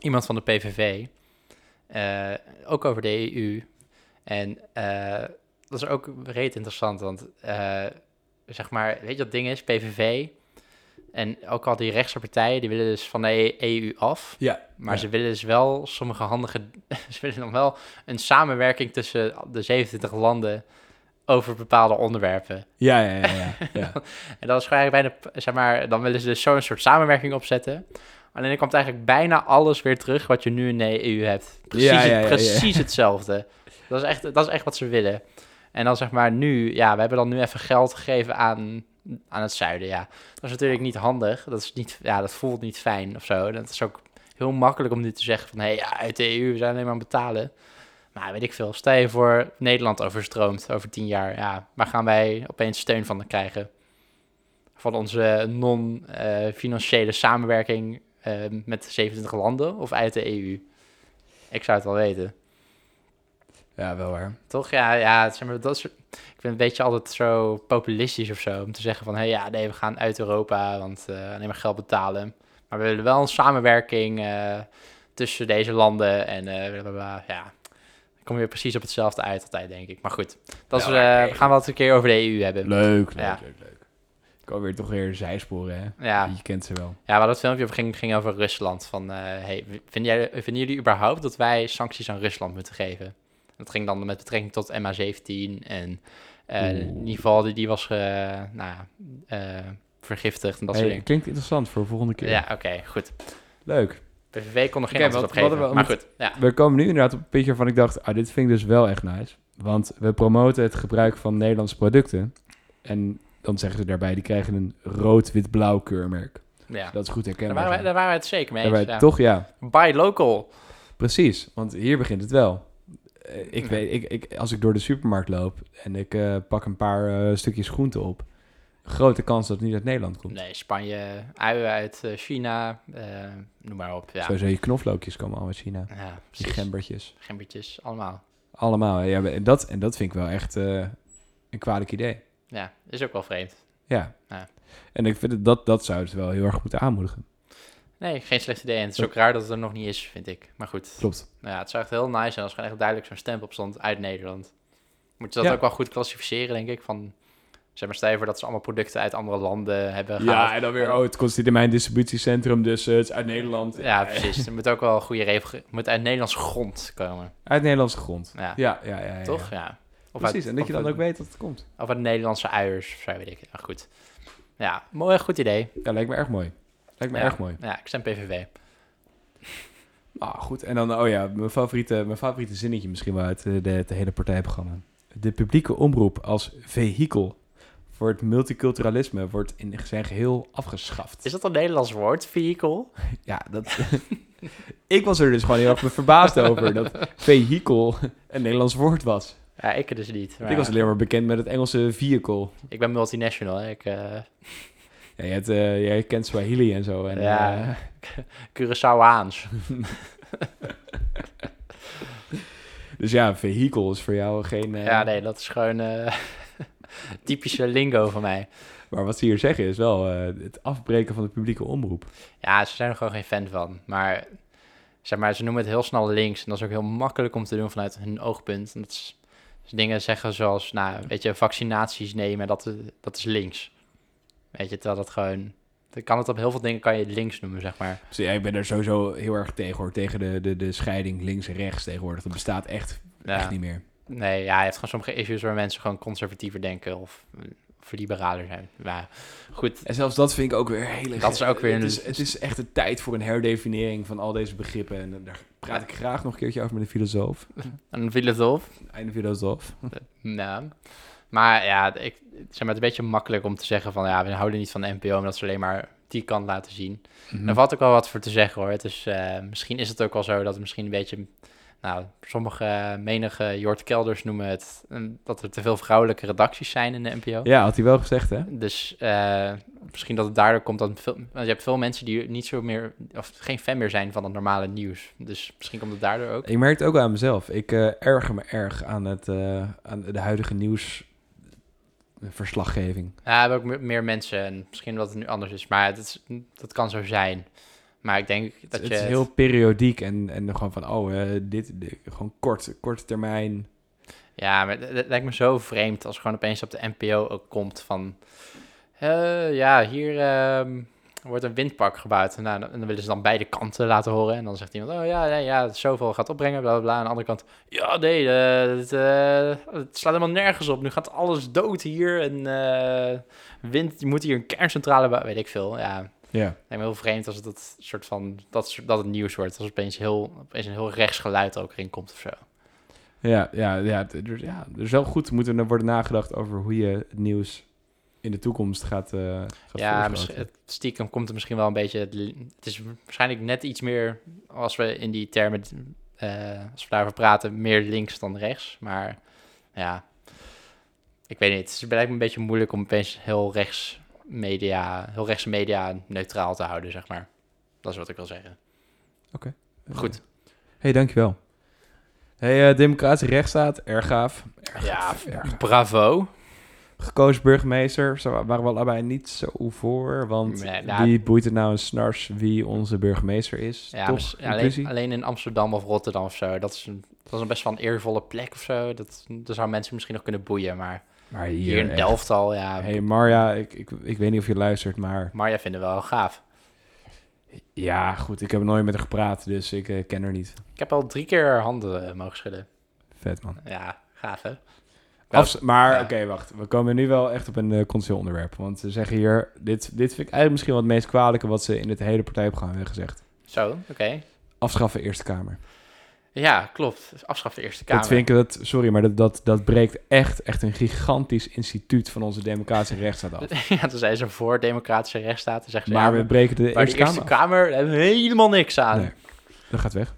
S1: iemand van de PVV. eh, ook over de EU. En eh, dat is ook reet interessant, want eh, zeg maar, weet je wat het ding is? PVV en ook al die rechtse partijen, die willen dus van de EU af.
S3: Ja,
S1: Maar
S3: ja.
S1: ze willen dus wel sommige handige... <laughs> Ze willen dan wel een samenwerking tussen de 27 landen over bepaalde onderwerpen.
S3: Ja, ja, ja. ja, ja.
S1: En dat is gewoon eigenlijk bijna, zeg maar, dan willen ze dus zo'n soort samenwerking opzetten. Alleen dan komt eigenlijk bijna alles weer terug wat je nu in de EU hebt. Precies,
S3: Ja, ja, ja, ja.
S1: precies hetzelfde. Dat is, echt, dat is echt wat ze willen. En dan zeg maar nu, ja, we hebben dan nu even geld gegeven aan aan het zuiden, ja. Dat is natuurlijk niet handig. Dat, is niet, ja, dat voelt niet fijn of zo. Dat is ook heel makkelijk om nu te zeggen van... hé, hey, ja, uit de EU, we zijn alleen maar aan het betalen. Maar weet ik veel, stel je voor Nederland overstroomt over tien jaar. Ja, waar gaan wij opeens steun van krijgen? Van onze non-financiële samenwerking eh, met 27 landen of uit de EU? Ik zou het wel weten.
S3: Ja, wel
S1: <laughs>
S3: waar.
S1: Toch? Ja, ja zeg maar, dat soort... ik vind het een beetje altijd zo populistisch of zo. Om te zeggen van, hé, ja, nee, we gaan uit Europa, want eh, alleen maar geld betalen. Maar we willen wel een samenwerking eh, tussen deze landen en eh, blablabla. ja. Dan kom je precies op hetzelfde uit altijd, denk ik. Maar goed, dat is,
S3: Wel, maar
S1: eh,
S3: nee.
S1: we gaan wel het een keer over de EU hebben.
S3: Leuk, leuk,
S1: Ja.
S3: leuk, leuk. Ik kan weer toch weer zijsporen, hè?
S1: Ja,
S3: Je kent ze wel.
S1: ja, waar dat filmpje over ging, ging over Rusland. Van, eh, hey, vinden, jij, vinden jullie überhaupt dat wij sancties aan Rusland moeten geven? Dat ging dan met betrekking tot MH17 en eh
S3: Oeh.
S1: Nival, die, die was eh, nou, ja, eh, vergiftigd en dat
S3: Hey,
S1: soort dingen.
S3: klinkt interessant voor de volgende keer.
S1: Ja, oké, goed.
S3: Leuk.
S1: PVV kon er geen
S3: Oké,
S1: antwoord
S3: wat-
S1: op geven,
S3: wat we-
S1: maar
S3: wat-
S1: goed. Ja,
S3: We komen nu inderdaad op een puntje waarvan ik dacht, ah, dit vind ik dus wel echt nice. Want we promoten het gebruik van Nederlandse producten. En dan zeggen ze daarbij, die krijgen een rood-wit-blauw keurmerk.
S1: ja.
S3: Dat is goed
S1: Daar,
S3: herkenbaar.
S1: waren wij, daar waren we het zeker mee
S3: Daarbij-
S1: eens. Ja.
S3: Toch, ja.
S1: Buy local.
S3: Precies, want hier begint het wel. Eh, Ik
S1: Ja.
S3: weet, ik, ik, als ik door de supermarkt loop en ik eh, pak een paar eh, stukjes groente op, grote kans dat het niet uit Nederland komt.
S1: Nee, Spanje, uien uit eh, China, eh, noem maar op. Ja,
S3: Sowieso je knoflookjes komen al uit China,
S1: ja
S3: die
S1: precies.
S3: gembertjes,
S1: Gembertjes, allemaal.
S3: allemaal. Ja, en dat, en dat vind ik wel echt eh, een kwalijk idee.
S1: Ja, is ook wel vreemd.
S3: Ja.
S1: Ja.
S3: En ik vind het, dat, dat zou het wel heel erg moeten aanmoedigen.
S1: Nee, geen slecht idee. En het is ook raar dat het er nog niet is, vind ik. Maar goed,
S3: Klopt.
S1: nou ja, het zou echt heel nice zijn als er gewoon echt duidelijk zo'n stempel op stond uit Nederland. Moet je dat
S3: Ja.
S1: ook wel goed klassificeren, denk ik. Van, zeg maar, stel je voor dat ze allemaal producten uit andere landen hebben gehaald.
S3: Ja, en dan weer, oh, het kost dit in mijn distributiecentrum, dus eh, het is uit Nederland.
S1: Ja, precies. Er moet ook wel een goede regel... Het moet uit Nederlandse grond komen.
S3: Uit Nederlandse grond.
S1: Ja,
S3: Ja, ja, ja. ja, ja.
S1: toch? Ja. Of
S3: Precies,
S1: uit-
S3: en dat je
S1: of
S3: dan ook
S1: uit-
S3: weet dat het komt.
S1: Of uit Nederlandse uiers, of zo weet ik. Maar goed. Ja, mooi, goed idee.
S3: Ja, lijkt me erg mooi. Lijkt me
S1: Ja.
S3: erg mooi.
S1: Ja, ik stem PVV.
S3: Ah, goed. En dan, oh ja, mijn favoriete, mijn favoriete zinnetje misschien wel uit eh, de, het hele partijprogramma. De publieke omroep als vehikel voor het multiculturalisme wordt in zijn geheel afgeschaft.
S1: Is dat een Nederlands woord, vehicle?
S3: Ja, dat... <laughs> ik was er dus gewoon heel erg verbaasd over dat vehikel een Nederlands woord was.
S1: Ja, ik dus niet. Maar
S3: Ik was alleen maar bekend met het Engelse vehicle.
S1: ik ben multinational, hè. Ik, eh,
S3: Ja, jij, hebt, eh, jij kent Swahili en zo. En,
S1: Ja.
S3: eh,
S1: <laughs> Curaçaoaans.
S3: dus ja, vehikel is voor jou geen... eh,
S1: Ja, nee, dat is gewoon eh, <laughs> typische lingo van mij.
S3: Maar wat ze hier zeggen is wel eh, het afbreken van de publieke omroep.
S1: Ja, ze zijn er gewoon geen fan van. Maar, zeg maar ze noemen het heel snel links. En dat is ook heel makkelijk om te doen vanuit hun oogpunt. En dat is, dus dingen zeggen zoals, nou, weet je, vaccinaties nemen, dat, dat is links. Weet je, terwijl dat gewoon... Dan kan het op heel veel dingen kan je het links noemen, zeg maar.
S3: Dus ja, ik ben er sowieso heel erg tegen hoor. Tegen de, de, de scheiding links en rechts tegenwoordig. Dat bestaat echt, echt
S1: Ja.
S3: niet meer.
S1: Nee, ja, je hebt gewoon sommige issues waar mensen gewoon conservatiever denken of, of liberaler zijn. Maar goed,
S3: En zelfs dat vind ik ook weer heel erg.
S1: Dat is ook weer
S3: Het
S1: een-
S3: is, het is echt de tijd voor een herdefinering van al deze begrippen. En daar praat ik graag nog een keertje over met een filosoof.
S1: een filosoof.
S3: Einde filosoof.
S1: Nou, maar ja, ik zeg maar, het is een beetje makkelijk om te zeggen van ja, we houden niet van de NPO omdat ze alleen maar die kant laten zien. Daar valt ook wel wat voor te zeggen hoor. Het is, eh, misschien is het ook wel zo dat het misschien een beetje, nou, sommige eh, menige Jort Kelders noemen het een- dat er te veel vrouwelijke redacties zijn in de NPO.
S3: Ja, had hij wel gezegd hè?
S1: Dus eh, misschien dat het daardoor komt dat veel, want je hebt veel mensen die niet zo meer of geen fan meer zijn van het normale nieuws. Dus misschien komt het daardoor ook.
S3: Ik merk het ook aan mezelf. Ik eh, erger me erg aan, het, eh, aan de huidige nieuwsverslaggeving.
S1: Ja, we hebben ook me- meer mensen en misschien dat het nu anders is, maar het is, dat kan zo zijn. Maar ik denk dat
S3: het
S1: je...
S3: is
S1: het-
S3: heel periodiek en, en gewoon van, oh, eh, dit, dit- gewoon kort, korte termijn.
S1: Ja, maar het het lijkt me zo vreemd als gewoon opeens op de NPO ook komt van... eh, ja, hier ehm, wordt een windpark gebouwd. Nou, dan, dan willen ze dan beide kanten laten horen. En dan zegt iemand, oh ja, ja, ja het zoveel gaat opbrengen, bla, bla, bla. Aan de andere kant, ja, nee, eh, het, eh, het slaat helemaal nergens op. Nu gaat alles dood hier. En eh, wind, je moet hier een kerncentrale bouwen, weet ik veel. Ja,
S3: Ja.
S1: Lijkt me heel vreemd als het dat soort van dat, soort- dat het nieuws wordt. Als opeens, heel, opeens een heel rechts geluid ook erin komt of zo.
S3: Ja, ja, ja, het- er, ja, er is wel goed moeten worden nagedacht over hoe je het nieuws in de toekomst gaat, eh gaat
S1: Ja,
S3: voortkomen.
S1: misschien- het- stiekem komt er misschien wel een beetje... Het li- het is waarschijnlijk net iets meer, als we in die termen... eh, als we daarover praten, meer links dan rechts. Maar ja, ik weet niet. Het blijkt me een beetje moeilijk om opeens heel rechts media, heel rechtse media neutraal te houden, zeg maar. Dat is wat ik wil zeggen. Goed.
S3: Hey, dankjewel. Hey, eh democratische rechtsstaat, erg gaaf. Erg
S1: Ja,
S3: gaaf, erg gaaf.
S1: <laughs> bravo.
S3: Gekozen burgemeester, ze wa- waren we allebei niet zo voor, want
S1: Nee, nou-
S3: wie boeit het nou een snars wie onze burgemeester is?
S1: Ja,
S3: Toch?
S1: mis-
S3: Inclusie?
S1: alleen, alleen in Amsterdam of Rotterdam of zo. Dat is, een, dat is een best wel een eervolle plek of zo. Dat, dat zou mensen misschien nog kunnen boeien. Maar
S3: Maar
S1: hier,
S3: hier,
S1: in
S3: echt.
S1: Delft al, ja.
S3: Hey Marja, ik, ik, ik weet niet of je luistert, maar
S1: Marja vindt het wel gaaf.
S3: ja, goed, ik heb nooit met haar gepraat, dus ik eh, ken haar niet.
S1: Ik heb al drie keer haar handen eh, mogen schudden.
S3: Vet man.
S1: Ja, gaaf hè? Ja.
S3: Afs- maar
S1: Ja.
S3: oké, wacht. We komen nu wel echt op een eh controversieel onderwerp. Want ze zeggen hier, dit, dit vind ik eigenlijk misschien wel het meest kwalijke wat ze in het hele partijprogramma hebben gezegd.
S1: Zo, oké.
S3: Afschaffen Eerste Kamer.
S1: Ja, klopt. Dus Afschaffen de Eerste Kamer.
S3: Dat vind ik, dat, sorry, maar dat, dat, dat breekt echt, echt een gigantisch instituut van onze democratische rechtsstaat af.
S1: <laughs> ja, toen zijn ze voor democratische rechtsstaat. Toen zeggen ze, ja,
S3: Maar we breken de
S1: maar
S3: Eerste
S1: de Eerste
S3: Kamer af.
S1: Kamer, daar hebben we helemaal niks aan.
S3: Nee. Dat gaat weg.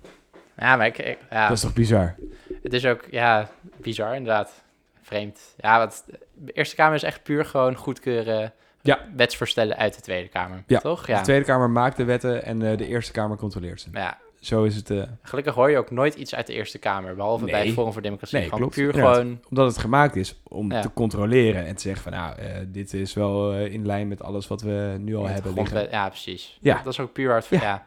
S1: Ja, maar ik, ik- ja,
S3: Dat is toch bizar?
S1: het is ook ja, bizar inderdaad. Vreemd. Ja, want de Eerste Kamer is echt puur gewoon goedkeuren
S3: Ja.
S1: wetsvoorstellen uit de Tweede Kamer.
S3: Ja.
S1: Toch? Ja.
S3: De Tweede Kamer maakt de wetten en eh, de Eerste Kamer controleert ze.
S1: ja.
S3: Zo is het, eh,
S1: Gelukkig hoor je ook nooit iets uit de Eerste Kamer, behalve bij
S3: Nee.
S1: het Forum voor Democratie.
S3: Nee,
S1: gewoon
S3: klopt.
S1: puur
S3: Inderdaad.
S1: gewoon
S3: omdat het gemaakt is om
S1: Ja.
S3: te controleren en te zeggen van, nou, eh, dit is wel eh, in lijn met alles wat we nu al
S1: Met
S3: hebben
S1: de
S3: liggen.
S1: grondwet- Ja, precies.
S3: Ja.
S1: Dat, dat is ook puur hard. Ja.
S3: Ja.
S1: Ja.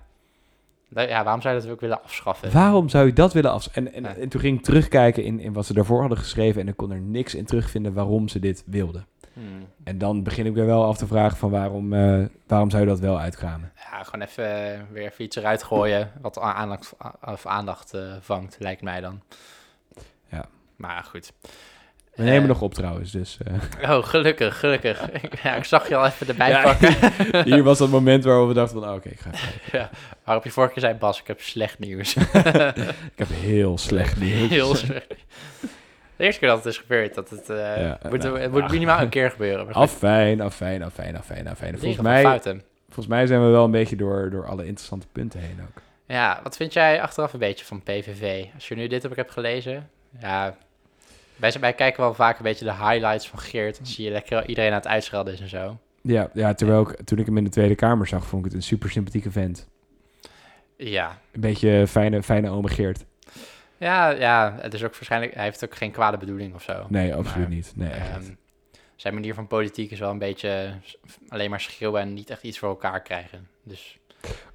S1: Da- ja, waarom zou je dat ook willen afschaffen?
S3: Waarom zou je dat willen af? En, en,
S1: Eh. Ja.
S3: en toen ging ik terugkijken in, in wat ze daarvoor hadden geschreven en ik kon er niks in terugvinden waarom ze dit wilden.
S1: Hmm.
S3: En dan begin ik weer wel af te vragen van waarom, eh, waarom zou je dat wel uitkramen?
S1: Ja, gewoon even eh, weer even iets eruit gooien wat a- aandacht, a- of aandacht eh, vangt, lijkt mij dan.
S3: Ja.
S1: Maar goed.
S3: We nemen
S1: Eh,
S3: nog op trouwens, dus eh, <laughs>
S1: Oh, gelukkig, gelukkig. ja, ik zag je al even erbij
S3: Ja.
S1: pakken.
S3: <laughs> hier was dat moment waarop we dachten van, oh, oké, ik, ga even-
S1: Waarop je vorige keer zei, Bas, ik heb slecht
S3: <laughs>
S1: nieuws.
S3: ik heb heel slecht
S1: <laughs>
S3: nieuws.
S1: Heel slecht. De eerste keer dat het is gebeurd, dat het... eh,
S3: Ja,
S1: moet,
S3: nou,
S1: het moet
S3: ach.
S1: minimaal een keer gebeuren. maar goed,
S3: Afijn, afijn, afijn, afijn, afijn.
S1: dingen
S3: Volgens
S1: van
S3: mij,
S1: Fouten.
S3: volgens mij zijn we wel een beetje door, door alle interessante punten heen ook.
S1: Ja, wat vind jij achteraf een beetje van PVV? Als je nu dit heb ik heb gelezen, ja, wij, zijn- wij kijken wel vaak een beetje de highlights van Geert. Dan zie je lekker iedereen aan het uitschelden is en zo.
S3: Ja, ja terwijl ik, toen ik hem in de Tweede Kamer zag, vond ik het een super sympathieke vent.
S1: Ja,
S3: Een beetje fijne, fijne ome Geert.
S1: ja, ja het is ook waarschijnlijk, hij heeft ook geen kwade bedoeling of zo.
S3: Nee, absoluut
S1: Maar,
S3: niet. Nee, echt niet.
S1: Ehm, zijn manier van politiek is wel een beetje s- alleen maar schreeuwen en niet echt iets voor elkaar krijgen. Dus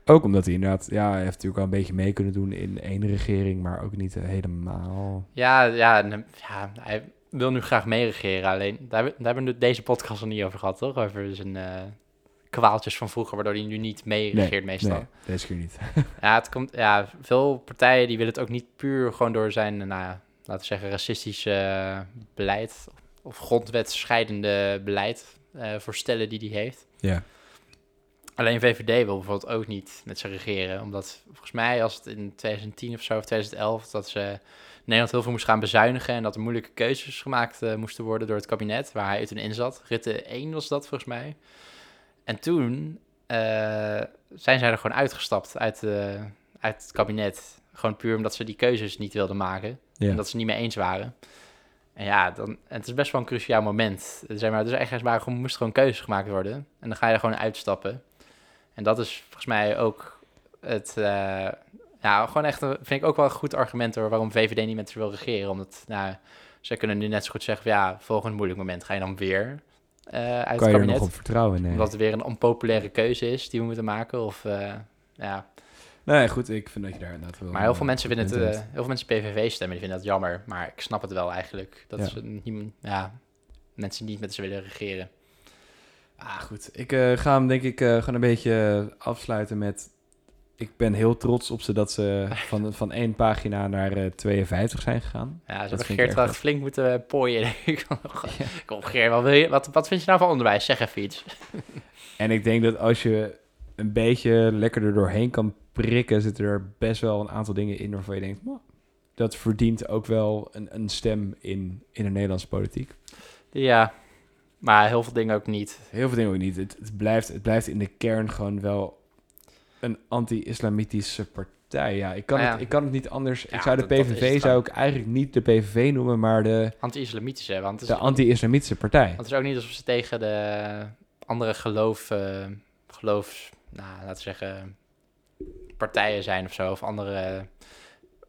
S3: Ook omdat hij inderdaad, ja, hij heeft natuurlijk wel een beetje mee kunnen doen in één regering, maar ook niet eh, helemaal.
S1: ja, ja, en, ja hij wil nu graag meeregeren. Alleen daar, hebben- daar hebben we deze podcast al niet over gehad, toch? Over zijn eh, kwaaltjes van vroeger, waardoor hij nu niet meeregeert meestal.
S3: Nee, deze keer niet.
S1: Ja, het komt, ja, veel partijen die willen het ook niet puur gewoon door zijn, nou, ja, laten we zeggen, racistische eh, beleid of grondwetscheidende beleid eh, voorstellen die die heeft.
S3: Ja.
S1: Alleen VVD wil bijvoorbeeld ook niet met ze regeren, omdat volgens mij als het in 2010 of zo of 2011 dat ze Nederland heel veel moest gaan bezuinigen en dat er moeilijke keuzes gemaakt eh, moesten worden door het kabinet waar hij toen in zat. Rutte 1 was dat volgens mij. En toen eh, zijn zij er gewoon uitgestapt uit, eh, uit het kabinet. Gewoon puur omdat ze die keuzes niet wilden maken.
S3: Ja.
S1: En dat ze niet mee eens waren. En ja, dan, en het is best wel een cruciaal moment. Zeg maar, dus eigenlijk maar, gewoon- moest gewoon keuzes gemaakt worden. En dan ga je er gewoon uitstappen. En dat is volgens mij ook het... eh, nou, gewoon echt, een- vind ik ook wel een goed argument hoor, waarom VVD niet met ze wil regeren. Omdat, nou, ze kunnen nu net zo goed zeggen, van, ja, volgend moeilijk moment ga je dan weer eh, uit
S3: kan
S1: het
S3: je er
S1: kabinet.
S3: nog op vertrouwen? Nee.
S1: Omdat er weer een onpopulaire keuze is die we moeten maken. Of, eh, ja.
S3: Nee, goed, ik vind dat je daar inderdaad wel.
S1: Maar heel veel
S3: eh,
S1: mensen vinden het,
S3: punt
S1: eh,
S3: hebt.
S1: heel veel mensen PVV stemmen, die vinden dat jammer. Maar ik snap het wel eigenlijk. Dat
S3: Ja.
S1: ze niet, ja, mensen niet met ze willen regeren.
S3: Ah, goed. Ik eh, ga hem denk ik eh, gewoon een beetje eh, afsluiten met. Ik ben heel trots op ze
S1: <laughs>
S3: dat ze van, van één pagina naar eh, 52 zijn gegaan.
S1: Ja, ze
S3: vind
S1: hebben
S3: ik
S1: Geert
S3: erg
S1: wel
S3: goed.
S1: echt flink moeten eh, pooien. <laughs> denk ik. Kom Geert, wat, wil je, wat, wat vind je nou van onderwijs? Zeg even iets.
S3: En ik denk dat als je een beetje lekker er doorheen kan prikken, zitten er best wel een aantal dingen in waarvan je denkt, "Mwah, dat verdient ook wel een, een stem in, in de Nederlandse politiek.
S1: Ja, Maar heel veel dingen ook niet.
S3: Heel veel dingen ook niet. Het, het blijft, het blijft in de kern gewoon wel een anti-islamitische partij. Ja, ik kan,
S1: Nou ja.
S3: Het, ik kan het niet anders.
S1: Ja,
S3: ik zou de
S1: dat- dat is
S3: PVV
S1: het
S3: zou
S1: dan.
S3: ik eigenlijk niet de PVV noemen, maar de,
S1: Anti-islamitische, want het
S3: de
S1: is,
S3: anti-islamitische partij.
S1: want het is ook niet alsof ze tegen de andere geloof, eh, geloofs, nou, laten we zeggen, partijen zijn of zo. Of andere,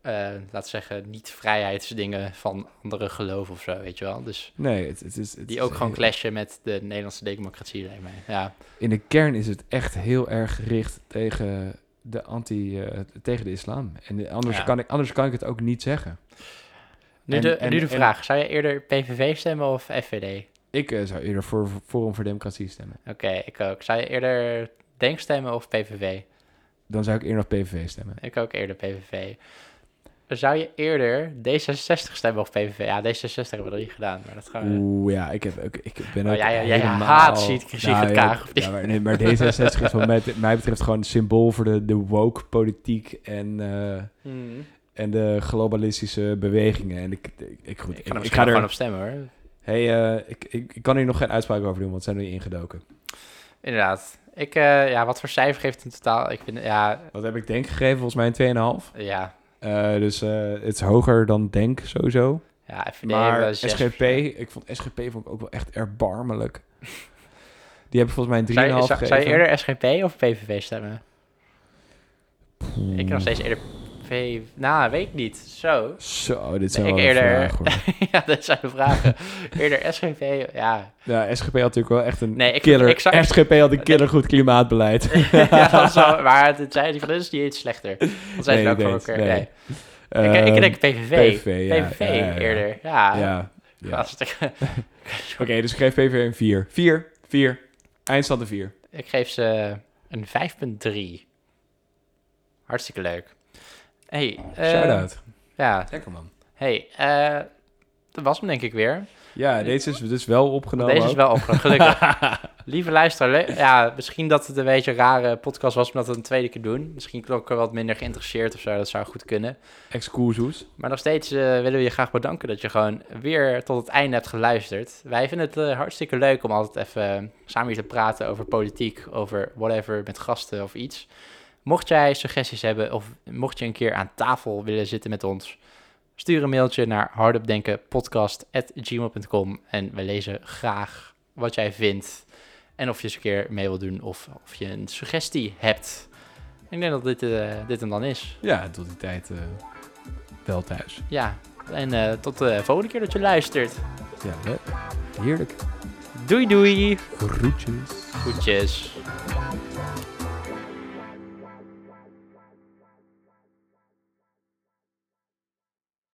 S1: eh, eh, laten we zeggen, niet-vrijheidsdingen van andere geloven of zo, weet je wel. Dus
S3: Nee, het, het is... Het
S1: die
S3: is
S1: ook gewoon
S3: heel-
S1: clashen met de Nederlandse democratie, lijkt mij. Ja,
S3: In de kern is het echt heel erg gericht tegen de, anti, eh, tegen de islam. En eh, anders,
S1: Ja.
S3: kan ik, anders kan ik het ook niet zeggen.
S1: Nu,
S3: En-
S1: de,
S3: en-
S1: nu de
S3: en-
S1: vraag, zou je eerder PVV stemmen of FVD?
S3: Ik eh, zou eerder voor Forum voor Democratie stemmen.
S1: Oké, ik ook. Zou je eerder Denk stemmen of PVV?
S3: Dan zou ik eerder nog PVV stemmen.
S1: Ik ook eerder PVV. Zou je eerder D66 stemmen of PVV? Ja, D66 hebben we nog niet gedaan, maar dat gaan we...
S3: Oeh, ja, ik, heb, ik, ik ben
S1: Oh,
S3: ook
S1: jij- jij
S3: helemaal... Nou,
S1: haat Sigrid- Sigrid
S3: ja,
S1: Kaag, of niet?
S3: ja, maar, nee, maar D66 is wat mij,
S1: <laughs>
S3: mij betreft gewoon een symbool voor de, de woke politiek en, eh,
S1: Hmm.
S3: en de globalistische bewegingen. En ik, ik, ik- goed,
S1: Ik
S3: ik,
S1: kan er
S3: ik
S1: misschien
S3: ga
S1: gewoon
S3: er...
S1: op stemmen, hoor.
S3: Hey, eh, ik, ik, ik kan hier nog geen uitspraak over doen, want ze zijn er niet ingedoken.
S1: Inderdaad. Ik, eh, ja, wat voor cijfer geeft het in totaal? Ik vind, ja,
S3: Wat heb ik denk gegeven? Volgens mij een 2,5.
S1: ja,
S3: Eh, dus eh, het is hoger dan Denk sowieso.
S1: ja, FVD hebben
S3: maar
S1: we zes
S3: SGP,
S1: procent.
S3: ik vond SGP vond ik ook wel echt
S1: <laughs>
S3: erbarmelijk. Die hebben volgens mij een 3,5
S1: Zou je, zou-
S3: gegeven.
S1: zou je eerder SGP of PVV stemmen? Ik heb nog steeds eerder PVV... Nou, weet ik niet. Zo. <laughs>
S3: Zo, dit
S1: Nee,
S3: zijn wel
S1: ik
S3: een
S1: eerder- <laughs>
S3: vragen, hoor.
S1: ja, dat zijn de
S3: <laughs>
S1: vragen. Eerder SGP, ja.
S3: Ja, SGP had natuurlijk wel echt een
S1: Nee, ik-
S3: killer...
S1: ik zou-
S3: SGP had een killer goed
S1: <laughs>
S3: klimaatbeleid. <laughs>
S1: ja dat zou, maar het zijn die van is niet iets slechter. Dat zijn ze
S3: Nee,
S1: ook voor
S3: nee,
S1: elkaar.
S3: nee.
S1: Nee.
S3: Ehm,
S1: ik, ik denk PVV.
S3: PVV, ja, ja, ja, ja.
S1: eerder. Ja,
S3: Ja. ja.
S1: hartstikke.
S3: Oké, dus ik geef PVV een 4. 4, 4. Eindstand een 4.
S1: <laughs> Ik geef ze een 5.3. Hartstikke leuk. Hey, eh,
S3: Shout-out.
S1: Ja,
S3: Lekker man.
S1: hey, eh, dat was hem denk ik weer.
S3: Ja, deze is dus wel opgenomen.
S1: Deze is
S3: ook.
S1: wel opgelucht, gelukkig.
S3: <laughs>
S1: Lieve luisteraar, le- ja, misschien dat het een beetje een rare podcast was omdat we het een tweede keer doen. Misschien klonk er wat minder geïnteresseerd of zo, dat zou goed kunnen.
S3: Excuses.
S1: Maar nog steeds eh, willen we je graag bedanken dat je gewoon weer tot het einde hebt geluisterd. Wij vinden het eh, hartstikke leuk om altijd even eh, samen hier te praten over politiek, over whatever, met gasten of iets. Mocht jij suggesties hebben of mocht je een keer aan tafel willen zitten met ons, stuur een mailtje naar hardopdenkenpodcast.gmail.com en we lezen graag wat jij vindt en of je eens een keer mee wil doen of of je een suggestie hebt. Ik denk dat dit, eh, dit hem dan is.
S3: Ja, tot die tijd eh, wel thuis.
S1: Ja, en eh, tot de volgende keer dat je luistert.
S3: Ja, leuk. Heerlijk.
S1: Doei doei.
S3: Groetjes.
S1: Goedjes.